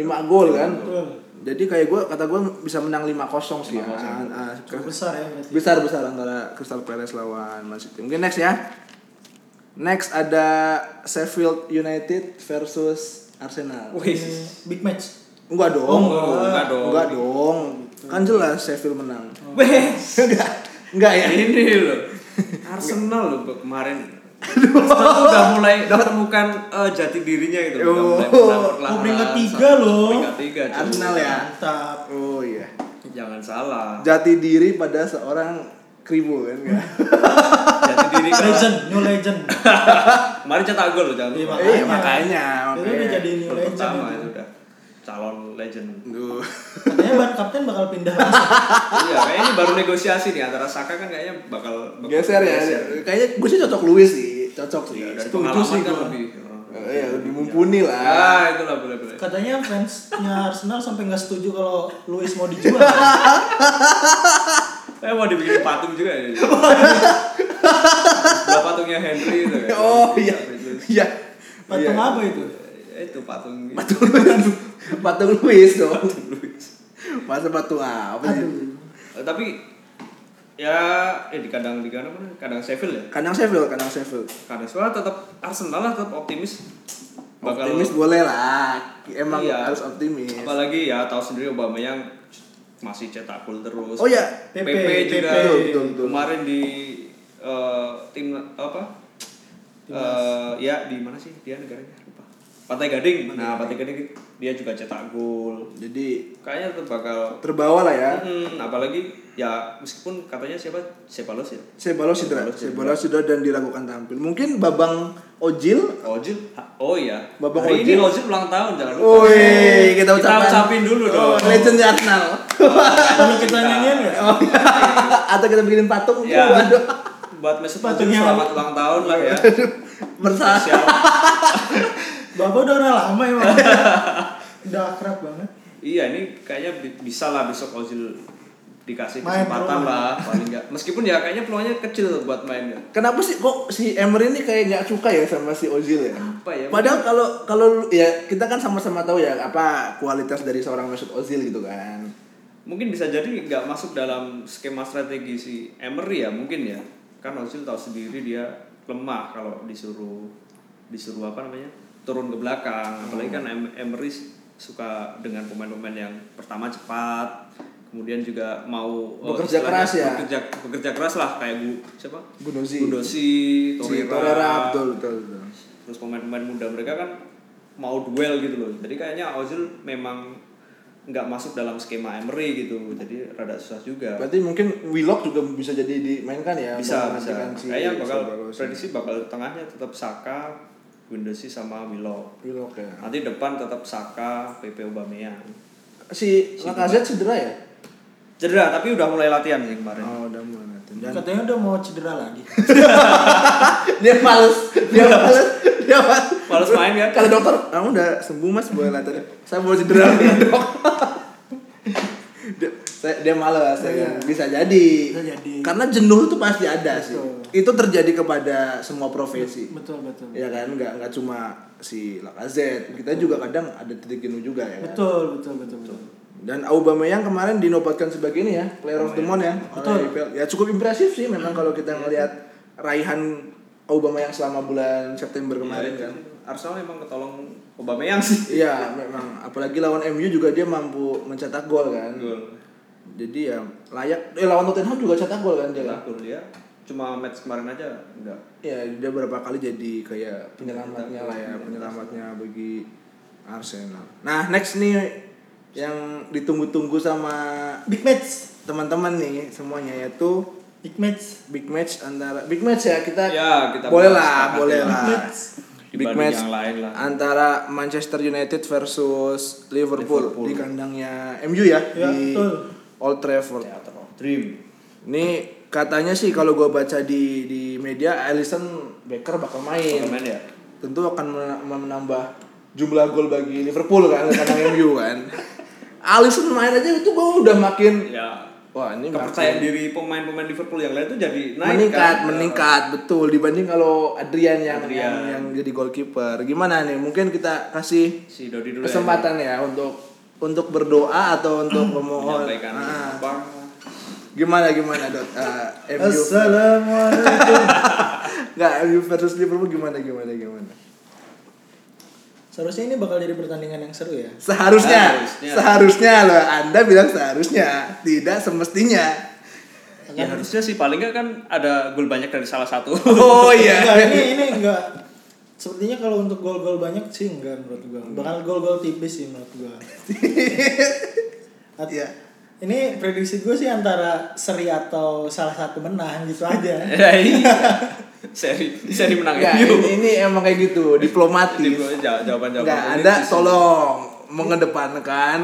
Speaker 5: 5 gol kan.
Speaker 3: Betul.
Speaker 5: Jadi kayak gue kata gue bisa menang 5-0 sih. ya.
Speaker 2: 5-0.
Speaker 5: Ah, ah,
Speaker 3: Cukup besar ya berarti.
Speaker 5: besar besar antara Crystal Palace lawan Man City. Mungkin next ya. Next ada Sheffield United versus Arsenal.
Speaker 2: Wih.
Speaker 3: Eh, Big match.
Speaker 5: Enggak dong.
Speaker 2: Oh, enggak. Enggak dong.
Speaker 5: Enggak dong. Kan jelas Sheffield menang. [LAUGHS]
Speaker 2: Wes.
Speaker 5: Enggak. Enggak ya.
Speaker 2: Ini
Speaker 3: [LAUGHS]
Speaker 2: loh. Arsenal loh Bang, kemarin. Arsenal tuh udah mulai menemukan eh, jati dirinya gitu. Udah mulai
Speaker 5: Oh,
Speaker 2: perlahan-perlahan.
Speaker 3: oh, peringkat tiga loh.
Speaker 2: Peringkat tiga. cuy.
Speaker 5: Arsenal ya.
Speaker 3: Mantap.
Speaker 5: Oh iya.
Speaker 2: Jangan salah.
Speaker 5: Jati diri pada seorang kribo kan enggak.
Speaker 2: Jati diri
Speaker 5: ya.
Speaker 3: Legend, new legend.
Speaker 2: Kemarin cetak gol loh jangan.
Speaker 3: Iya,
Speaker 2: lupa.
Speaker 5: Iya,
Speaker 3: makanya.
Speaker 5: makanya,
Speaker 3: Itu udah
Speaker 5: makanya.
Speaker 3: jadi new
Speaker 2: Gol
Speaker 3: legend.
Speaker 2: pertama
Speaker 3: itu.
Speaker 2: itu udah calon legend.
Speaker 5: Duh.
Speaker 3: Katanya bak kapten bakal pindah
Speaker 5: [LAUGHS]
Speaker 3: langsung.
Speaker 2: iya, kayaknya ini baru negosiasi nih antara Saka kan kayaknya bakal, bakal
Speaker 5: Geser ya.
Speaker 3: Iya.
Speaker 5: Kayaknya gue sih cocok Luis sih. Cocok sih.
Speaker 2: Iya, dari
Speaker 5: Setuju
Speaker 2: pengalaman
Speaker 5: sih
Speaker 2: kan
Speaker 5: gue.
Speaker 2: lebih.
Speaker 5: Eh, ya, lebih mumpuni lah.
Speaker 2: Ah, itulah boleh-boleh.
Speaker 3: Katanya fansnya Arsenal sampai nggak setuju kalau Luis mau dijual.
Speaker 5: Iya.
Speaker 2: Eh mau dibikin patung juga
Speaker 5: [LAUGHS]
Speaker 2: ya. Nah, patungnya Henry itu. kan.
Speaker 5: Oh iya. Iya.
Speaker 3: Patung
Speaker 5: Iya.
Speaker 3: apa itu?
Speaker 2: Eh, Itu patung.
Speaker 5: Patung Luis. [LAUGHS] Patung Luis dong. Masa patung apa sih?
Speaker 3: Aduh.
Speaker 2: Eh, Tapi ya eh di kandang di kandang mana? Kandang Sheffield ya.
Speaker 5: Kadang Sheffield, kadang Sheffield.
Speaker 2: Kandang Sheffield tetap Arsenal lah tetap optimis. Bakal
Speaker 5: Optimis boleh lah. Emang
Speaker 2: Iya.
Speaker 5: harus optimis.
Speaker 2: Apalagi ya tahu sendiri Aubameyang masih cetak gol terus.
Speaker 5: Oh iya.
Speaker 2: PP, juga
Speaker 3: PP, betul,
Speaker 5: betul, betul.
Speaker 2: kemarin di eh, tim apa? Eh, ya di mana sih dia negaranya lupa. Pantai Gading. nah, Pantai Gading dia juga cetak gol.
Speaker 5: Jadi
Speaker 2: Kayaknya tetap bakal
Speaker 5: terbawa lah ya.
Speaker 2: Hmm, apalagi ya meskipun katanya siapa Sepalos ya.
Speaker 5: Sebalos cedera,
Speaker 2: Ceballos cedera.
Speaker 5: Sebalos cedera dan diragukan tampil. Mungkin Babang Ojil
Speaker 2: Ojil. Ha- Oh iya.
Speaker 5: Babang
Speaker 2: Hari ini
Speaker 5: Ojil.
Speaker 2: Ojil ulang tahun jangan lupa.
Speaker 5: Woi, kita
Speaker 2: Kita
Speaker 5: ucapkan.
Speaker 2: ucapin dulu dong.
Speaker 5: Legendnya
Speaker 2: [LAUGHS]
Speaker 5: Arsenal.
Speaker 3: Perlu kita nyanyiin ya? nggak?
Speaker 5: Oh. Atau kita bikinin patung
Speaker 2: Ya.
Speaker 5: tuh, waduh.
Speaker 2: Buat Mesut Ozil
Speaker 3: Patungnya-
Speaker 2: selamat ulang tahun lah ya.
Speaker 5: Bersalah.
Speaker 2: Siap.
Speaker 3: Bapak udah kenal lama emang.
Speaker 5: [LAUGHS]
Speaker 3: udah akrab banget.
Speaker 2: Iya ini kayaknya bi- bisa lah besok Ozil dikasih
Speaker 3: Main
Speaker 2: kesempatan
Speaker 3: terus.
Speaker 2: lah paling nggak. Meskipun ya kayaknya peluangnya kecil buat ya. mainnya.
Speaker 5: Kenapa sih kok si Emery ini kayak nggak suka ya sama si Ozil ya?
Speaker 2: Apa ya?
Speaker 5: Padahal kalau kalau lu- ya kita kan sama-sama tahu ya apa kualitas dari seorang Mesut Ozil gitu kan.
Speaker 2: Mungkin bisa jadi nggak masuk dalam skema strategi si Emery ya mungkin ya. Kan Ozil tahu sendiri dia lemah kalau disuruh disuruh apa namanya turun ke belakang.
Speaker 5: Hmm.
Speaker 2: Apalagi kan Em- Emery suka dengan pemain-pemain yang pertama cepat, kemudian juga mau eh,
Speaker 5: Bekerja
Speaker 2: istilahnya
Speaker 5: keras ya?
Speaker 2: Bekerja, bekerja keras lah kayak Bu siapa?
Speaker 5: Gunosi.
Speaker 2: Gundosi,
Speaker 5: Si
Speaker 2: Torreira,
Speaker 5: Torreira betul betul. betul.
Speaker 2: terus pemain-pemain muda mereka kan mau duel gitu loh jadi kayaknya Ozil memang nggak masuk dalam skema Emery gitu jadi rada susah juga
Speaker 5: Berarti mungkin Willock juga bisa jadi dimainkan ya.
Speaker 2: bisa bisa
Speaker 5: menggantikan si
Speaker 2: kayaknya bakal
Speaker 5: Ceballos.
Speaker 2: prediksi bakal tengahnya tetap Saka Gundosi sama Willow
Speaker 5: Willock ya.
Speaker 2: nanti depan tetap Saka PP Aubameyang
Speaker 5: Si Lacazette cedera ya?
Speaker 2: cedera tapi udah mulai latihan sih kemarin
Speaker 5: Oh, udah mulai latihan. Dan
Speaker 3: Katanya udah mau cedera lagi.
Speaker 5: [LAUGHS] dia males, dia males, dia males.
Speaker 2: Males main kan?
Speaker 5: [LAUGHS] Kalau dokter, kamu udah sembuh mas, boleh latihan. Saya mau
Speaker 2: [LAUGHS]
Speaker 5: cedera dok. dia, saya, dia males, ya kan? bisa jadi.
Speaker 3: Bisa jadi.
Speaker 5: Karena jenuh itu pasti ada sih.
Speaker 3: Betul.
Speaker 5: Itu terjadi kepada semua profesi.
Speaker 3: Betul betul.
Speaker 5: Ya kan, nggak nggak cuma si Lacazette, kita juga kadang ada titik jenuh juga ya. Kan?
Speaker 3: Betul betul betul betul.
Speaker 5: Dan Aubameyang kemarin dinobatkan sebagai ini ya, player of the month ya.
Speaker 3: Betul.
Speaker 5: oleh IPL. Ya cukup impresif sih memang kalau kita ngelihat raihan Aubameyang selama bulan September kemarin
Speaker 3: Iya,
Speaker 5: kan.
Speaker 2: Arsenal memang ketolong Aubameyang sih
Speaker 5: Iya, memang apalagi lawan MU juga dia mampu mencetak gol kan.
Speaker 2: gol
Speaker 5: Jadi ya layak eh lawan Tottenham juga cetak gol kan dia. kan?
Speaker 3: Iya.
Speaker 2: Cetak gol dia cuma match kemarin aja enggak
Speaker 5: Ya, dia berapa kali jadi kayak penyelamatnya lah ya, penyelamatnya bagi Arsenal. Nah, next nih yang ditunggu-tunggu sama
Speaker 3: Big match.
Speaker 5: teman-teman nih semuanya yaitu
Speaker 3: Big match.
Speaker 5: big match antara big match ya kita,
Speaker 2: Ya, kita
Speaker 5: boleh
Speaker 2: bahas
Speaker 5: lah
Speaker 2: sepakat
Speaker 5: boleh
Speaker 2: ya.
Speaker 5: lah
Speaker 3: Big match.
Speaker 5: big
Speaker 2: Dibanding
Speaker 5: match
Speaker 2: yang lain lah.
Speaker 5: antara Manchester United versus Liverpool,
Speaker 2: Liverpool.
Speaker 5: di kandangnya MU ya,
Speaker 3: Ya,
Speaker 5: di
Speaker 3: betul.
Speaker 5: Old Trafford.
Speaker 2: Theater of Dream
Speaker 5: Ini katanya sih kalau gue baca di di media Alisson Becker bakal main.
Speaker 2: Pemain ya
Speaker 5: Tentu akan mena- menambah jumlah gol bagi Liverpool kan di
Speaker 2: [LAUGHS]
Speaker 5: kandang MU kan. Alisson main aja itu gue udah makin
Speaker 2: ya
Speaker 5: wah ini makin-
Speaker 2: kepercayaan diri pemain-pemain Liverpool yang lain tuh jadi naik
Speaker 5: meningkat,
Speaker 2: kan?
Speaker 5: meningkat betul dibanding kalau Adrian yang
Speaker 2: Adrian.
Speaker 5: yang, yang jadi goalkeeper. Gimana nih? Mungkin kita kasih
Speaker 2: si Dodi dulu
Speaker 5: kesempatan ya untuk untuk berdoa atau
Speaker 2: [CLEARS THROAT]
Speaker 5: untuk memohon.
Speaker 2: menyampaikan
Speaker 5: Ah.
Speaker 2: apa
Speaker 5: Gimana gimana dot Eh, MU
Speaker 3: Assalamualaikum.
Speaker 5: nggak MU versus Liverpool gimana gimana gimana.
Speaker 3: Seharusnya ini bakal jadi pertandingan yang seru ya.
Speaker 5: Seharusnya,
Speaker 2: Seharusnya.
Speaker 5: seharusnya, loh. Anda bilang seharusnya, tidak semestinya. Iya
Speaker 2: ya harusnya sih paling nggak kan ada gol banyak dari salah
Speaker 5: [LAUGHS]
Speaker 2: satu
Speaker 5: Oh
Speaker 3: Enggak,
Speaker 5: iya.
Speaker 3: ini ini enggak. Sepertinya kalau untuk gol-gol banyak sih enggak menurut gua. Bakal gol-gol tipis sih menurut gua. At-
Speaker 5: Iya.
Speaker 3: Ini prediksi gue sih antara seri atau salah satu menang gitu
Speaker 5: [LAUGHS]
Speaker 3: aja.
Speaker 2: Ya, iya. seri seri menang
Speaker 5: Nggak,
Speaker 2: MU
Speaker 5: ini, ini emang kayak gitu, ya.
Speaker 2: Jadi
Speaker 5: diplomatis.
Speaker 2: gua jaw- jawaban jawaban
Speaker 5: Nggak, Anda tolong mengedepankan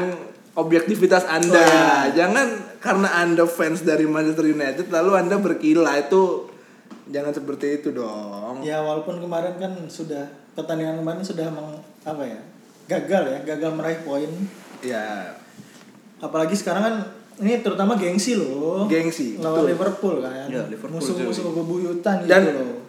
Speaker 5: objektivitas Anda. Jangan karena Anda fans dari Manchester United lalu Anda berkilah itu jangan seperti itu dong.
Speaker 3: ya walaupun kemarin kan sudah pertandingan kemarin sudah meng, apa ya gagal ya gagal meraih poin.
Speaker 5: Ya,
Speaker 3: Apalagi sekarang kan ini terutama gengsi loh.
Speaker 5: Gengsi, betul.
Speaker 3: Lawan
Speaker 5: Iya,
Speaker 3: Liverpool kan.
Speaker 2: Ya, Liverpool
Speaker 3: Musuh-musuh bebuyutan
Speaker 5: Dan-
Speaker 3: gitu loh.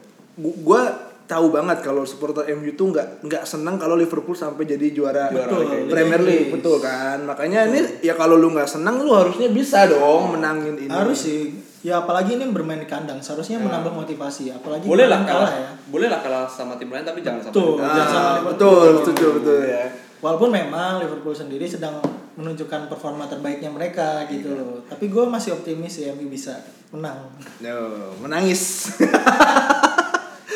Speaker 5: Gu- gua tahu banget kalau supporter MU tuh nggak nggak senang kalau Liverpool sampai jadi juara,
Speaker 2: Juara
Speaker 3: Betul,
Speaker 2: Liga Inggris.
Speaker 5: Premier League, betul kan? Makanya ini ya kalau lu nggak senang lu harusnya bisa dong menangin ini.
Speaker 3: Harus sih. Ya apalagi ini bermain di kandang, seharusnya menambah
Speaker 5: Iya.
Speaker 3: motivasi. Apalagi
Speaker 2: boleh lah
Speaker 3: kemarin
Speaker 2: kalah
Speaker 3: ya.
Speaker 2: boleh lah kalah sama tim lain tapi jangan sama
Speaker 3: Tuh,
Speaker 2: Liverpool.
Speaker 3: jangan sama
Speaker 5: Ah,
Speaker 3: Liverpool.
Speaker 5: betul, betul, betul ya.
Speaker 3: Walaupun memang Liverpool sendiri sedang menunjukkan performa terbaiknya mereka gitu loh. Tapi gue masih optimis ya MU bisa menang.
Speaker 5: No, menangis.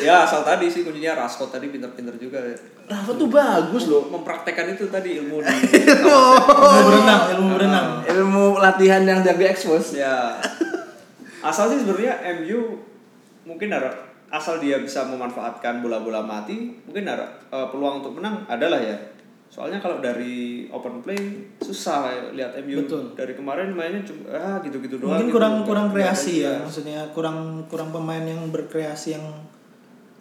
Speaker 2: ya asal tadi sih kuncinya Rasko tadi pinter-pinter juga
Speaker 5: Rafa tuh bagus loh.
Speaker 2: mempraktekkan itu tadi ilmu di
Speaker 5: [LAUGHS]
Speaker 3: Ilmu berenang, ilmu berenang.
Speaker 5: Nah, Ilmu latihan yang jaga expose.
Speaker 2: ya asal sih sebenarnya MU mungkin ada asal dia bisa memanfaatkan bola-bola mati mungkin ada eh, peluang untuk menang adalah ya soalnya kalau dari open play susah lihat MU
Speaker 3: Betul.
Speaker 2: dari kemarin mainnya cuma ah gitu-gitu doang
Speaker 3: Mungkin
Speaker 2: gitu.
Speaker 3: kurang kurang
Speaker 2: Nggak- nggak
Speaker 3: kreasi ya,
Speaker 2: ada-
Speaker 3: maksudnya kurang kurang pemain yang berkreasi yang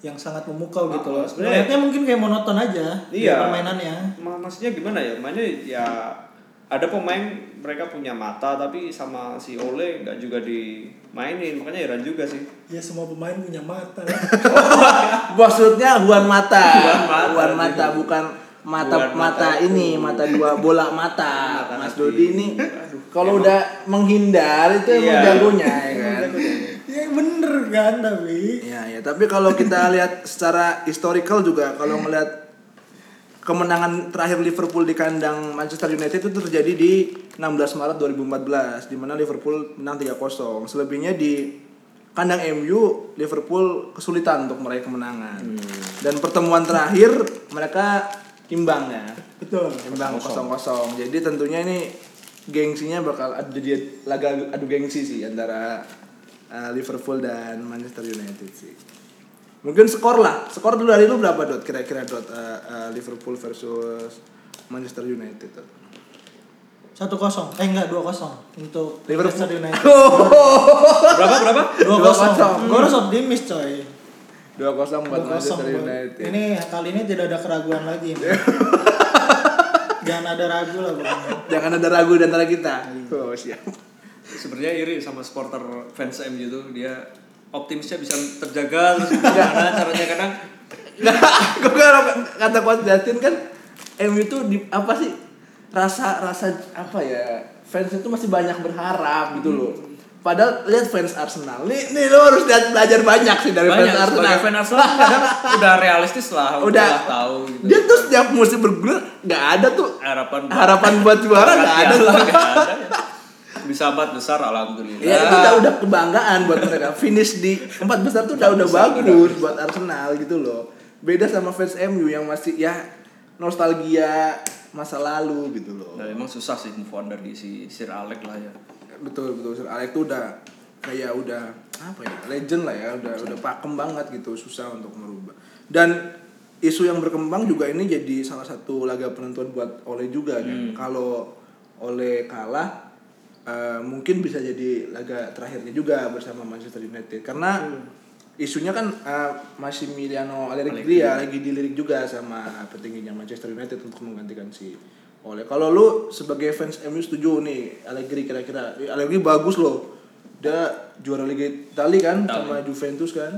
Speaker 3: yang sangat memukau
Speaker 2: Ah,
Speaker 3: gitu loh.
Speaker 2: sebenarnya-
Speaker 3: Sebenarnya mungkin kayak monoton aja
Speaker 2: Iya.
Speaker 3: permainannya.
Speaker 2: Ma- maksudnya gimana ya mainnya ya ada pemain mereka punya mata tapi sama si Ole nggak juga dimainin makanya heran juga sih
Speaker 3: Ya semua pemain punya [LAUGHS] mata.
Speaker 5: Maksudnya Juan Mata.
Speaker 2: Juan Mata.
Speaker 5: Juan Mata, bukan mata
Speaker 2: Juan Mata gitu.
Speaker 5: mata ini, mata dua bola mata.
Speaker 2: Mata
Speaker 5: Mas
Speaker 2: hati.
Speaker 5: Dodi ini
Speaker 2: Aduh,
Speaker 5: kalau
Speaker 2: emang.
Speaker 5: udah menghindar itu emang
Speaker 2: Iya.
Speaker 5: jagonya ya kan.
Speaker 3: ya bener kan tapi.
Speaker 5: Ya, ya, tapi kalau kita lihat secara historical juga kalau melihat kemenangan terakhir Liverpool di kandang Manchester United itu terjadi di 16 Maret 2014 di mana Liverpool menang 3-0. Selebihnya di kandang MU Liverpool kesulitan untuk meraih kemenangan. Dan pertemuan terakhir mereka imbang ya.
Speaker 3: Betul.
Speaker 5: Imbang 0-0. Jadi tentunya ini gengsinya bakal ad- jadi laga adu gengsi sih antara uh, Liverpool dan Manchester United sih. Mungkin skor lah. Skor dulu dari lu berapa dot kira-kira dot uh, uh, Liverpool versus Manchester United dot.
Speaker 3: satu kosong eh enggak dua kosong untuk
Speaker 5: Liverpool.
Speaker 3: Manchester United
Speaker 2: berapa berapa
Speaker 3: dua kosong
Speaker 5: 2-0.
Speaker 3: gue harus optimis coy
Speaker 5: 2-0
Speaker 3: dua
Speaker 5: buat
Speaker 3: kosong
Speaker 5: Manchester United.
Speaker 3: ini kali ini tidak ada keraguan lagi jangan ada ragu lah pokoknya
Speaker 5: Jangan ada ragu di antara kita. Oh, siap.
Speaker 2: sebenarnya iri sama supporter fans MU tuh dia optimisnya bisa terjaga terus gimana caranya kadang
Speaker 5: [LAUGHS] Gue kalau kata Coach Justin kan MU itu di apa sih rasa rasa apa ya fans itu masih banyak berharap gitu loh.
Speaker 2: Hmm.
Speaker 5: Padahal lihat fans Arsenal. Nih, nih lo harus lihat belajar banyak sih dari
Speaker 2: banyak
Speaker 5: fans
Speaker 2: sebagai
Speaker 5: Arsenal.
Speaker 2: fan Arsenal kadang udah realistis lah
Speaker 5: Udah.
Speaker 2: tahu gitu
Speaker 5: Dia tuh setiap musim bergulir nggak ada tuh
Speaker 2: harapan
Speaker 5: harapan buat juara nggak ada.
Speaker 2: Harapan nggak ada ya. bisa abad besar alhamdulillah
Speaker 5: Ya itu udah udah kebanggaan buat mereka. Finish di empat besar tuh udah udah bagus buat Arsenal gitu loh. Beda sama fans MU yang masih ya nostalgia masa lalu gitu loh.
Speaker 2: Nah, emang susah sih move on dari si Sir Alex lah ya
Speaker 5: betul betul Sir Alex tuh udah kayak udah apa ya legend lah ya udah udah pakem banget gitu susah untuk merubah dan isu yang berkembang juga ini jadi salah satu laga penentuan buat Ole juga kan kalau Ole kalah eh, mungkin bisa jadi laga terakhirnya juga bersama Manchester United karena isunya kan masih Massimiliano Allegri ya lagi dilirik juga sama petingginya Manchester United untuk menggantikan si Ole. Kalau lu sebagai fans MU setuju nih Allegri kira-kira Eh, Allegri bagus loh. Dia juara Liga Italia kan sama Juventus kan.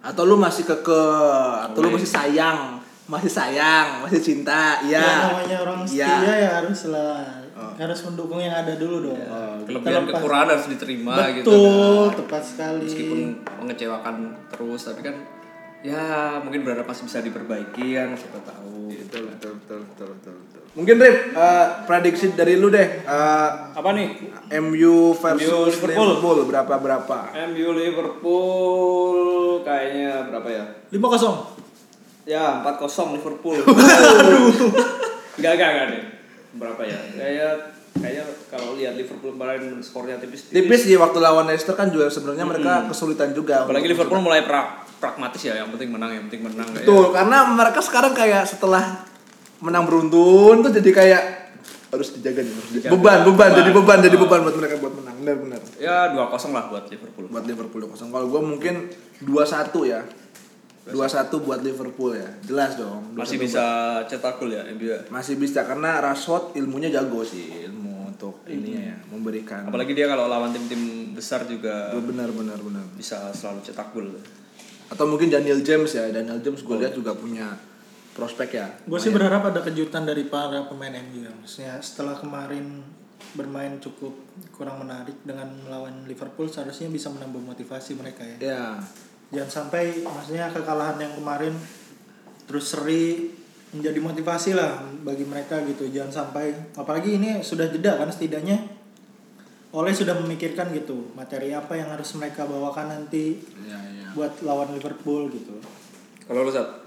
Speaker 5: Atau lu masih keke atau lu
Speaker 2: Ole.
Speaker 5: masih sayang masih sayang, masih cinta, iya.
Speaker 3: Ya, namanya orang setia
Speaker 5: Iya.
Speaker 3: ya harus lah harus mendukung yang ada dulu dong.
Speaker 2: Oh.
Speaker 6: Kelebihan
Speaker 3: Terlepas-
Speaker 6: kekurangan harus diterima
Speaker 3: Betul,
Speaker 6: gitu. kan.
Speaker 3: tepat
Speaker 2: Nah,
Speaker 3: sekali.
Speaker 6: Meskipun mengecewakan terus tapi kan ya mungkin berharap masih bisa diperbaiki
Speaker 2: ya,
Speaker 6: kan siapa tahu.
Speaker 5: Betul, betul, betul, betul, betul, betul. Mungkin Rip, eh, prediksi dari lu deh. eh,
Speaker 2: Apa nih?
Speaker 5: MU versus
Speaker 2: MU Liverpool.
Speaker 5: Liverpool berapa berapa?
Speaker 2: MU Liverpool kayaknya berapa ya?
Speaker 3: 5-0.
Speaker 2: Ya,
Speaker 6: [LAUGHS]
Speaker 2: 4-0 Liverpool. Aduh. Enggak, enggak, enggak deh. Berapa ya? Kayaknya kayaknya kalau lihat Liverpool kemarin skornya tipis-tipis.
Speaker 5: Tipis ya waktu lawan Leicester kan juga sebenarnya mereka kesulitan juga.
Speaker 6: Apalagi Liverpool mulai pra- pragmatis ya, yang penting menang, yang penting menang kayak.
Speaker 5: Betul, karena mereka sekarang kayak setelah menang beruntun tuh jadi kayak harus dijaga nih, harus dijaga. Beban, beban, jadi beban, jadi beban buat mereka buat menang. Benar, benar.
Speaker 6: Ya 2-0 lah buat Liverpool.
Speaker 5: Buat Liverpool ya, kosong. Kalau gue mungkin 2-1 ya. 2-1 buat Liverpool ya. Jelas dong. 2-1
Speaker 6: Masih
Speaker 5: buat-
Speaker 6: bisa cetak gol ya MU. ya.
Speaker 5: masih bisa karena Rashford ilmunya jago sih, ilmu untuk ininya ya, memberikan.
Speaker 6: Apalagi dia kalau lawan tim-tim besar juga
Speaker 5: benar benar benar.
Speaker 6: bisa selalu cetak gol.
Speaker 5: Atau mungkin Daniel James ya. Daniel James gue lihat juga punya prospek ya.
Speaker 3: Gue sih berharap ada kejutan dari para pemain MU ya. Maksudnya setelah kemarin bermain cukup kurang menarik dengan melawan Liverpool seharusnya bisa menambah motivasi mereka ya.
Speaker 5: Ya.
Speaker 3: Jangan sampai maksudnya kekalahan yang kemarin terus seri menjadi motivasi lah bagi mereka gitu. Jangan sampai apalagi ini sudah jeda kan setidaknya oleh sudah memikirkan gitu materi apa yang harus mereka bawakan nanti
Speaker 5: Ya ya.
Speaker 3: buat lawan Liverpool gitu.
Speaker 6: Kalau lu Sat?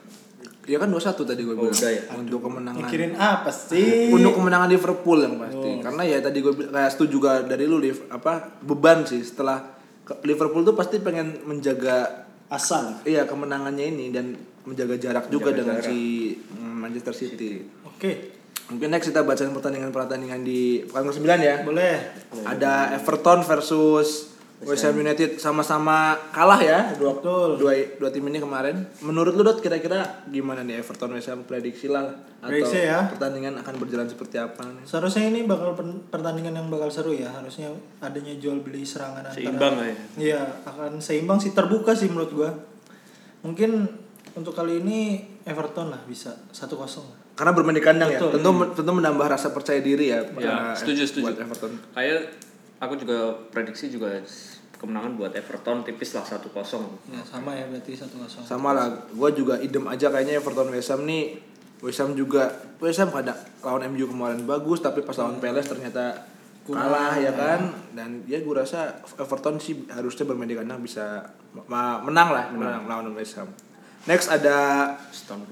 Speaker 5: Ya kan 2-1 tadi gue bilang.
Speaker 6: udah ya.
Speaker 5: Untuk kemenangan.
Speaker 3: Mikirin apa sih?
Speaker 5: Untuk kemenangan Liverpool yang pasti. Karena ya tadi gue bil- kayak setuju juga dari lu Liv, apa beban sih setelah ke- Liverpool tuh pasti pengen menjaga
Speaker 3: Asal.
Speaker 5: iya kemenangannya ini dan menjaga jarak juga dengan si mm, Manchester City.
Speaker 3: Oke,
Speaker 5: Mungkin next kita bacain pertandingan-pertandingan di pekan ke-9 ya.
Speaker 3: boleh.
Speaker 5: Ada Everton versus West Ham United sama-sama kalah ya dua,
Speaker 3: Betul.
Speaker 5: dua dua tim ini kemarin. Menurut lu Dot kira-kira gimana nih Everton West Ham prediksi lah atau
Speaker 3: Prediksi ya.
Speaker 5: pertandingan akan berjalan seperti apa nih?
Speaker 3: Seharusnya ini bakal pen- pertandingan yang bakal seru ya. Harusnya adanya jual beli serangan antara.
Speaker 2: Seimbang lah ya.
Speaker 3: Iya, akan seimbang sih terbuka sih menurut gua. Mungkin untuk kali ini Everton lah bisa 1-0. lah.
Speaker 5: Karena bermain di kandang ya,
Speaker 3: Betul.
Speaker 5: tentu tentu menambah rasa percaya diri ya. karena
Speaker 6: setuju,
Speaker 5: Ev-
Speaker 6: setuju.
Speaker 5: Buat Everton.
Speaker 2: Kayak aku juga prediksi juga kemenangan buat Everton tipis lah 1-0.
Speaker 3: Ya, sama ya berarti 1-0.
Speaker 5: Sama lah, gue juga idem aja kayaknya Everton West Ham nih. West Ham juga West Ham pada lawan MU kemarin bagus, tapi pas lawan Palace ternyata kalah ya kan. Dan ya gue rasa Everton sih harusnya bermain di kandang bisa ma- menang lah menang lawan West Ham. Next ada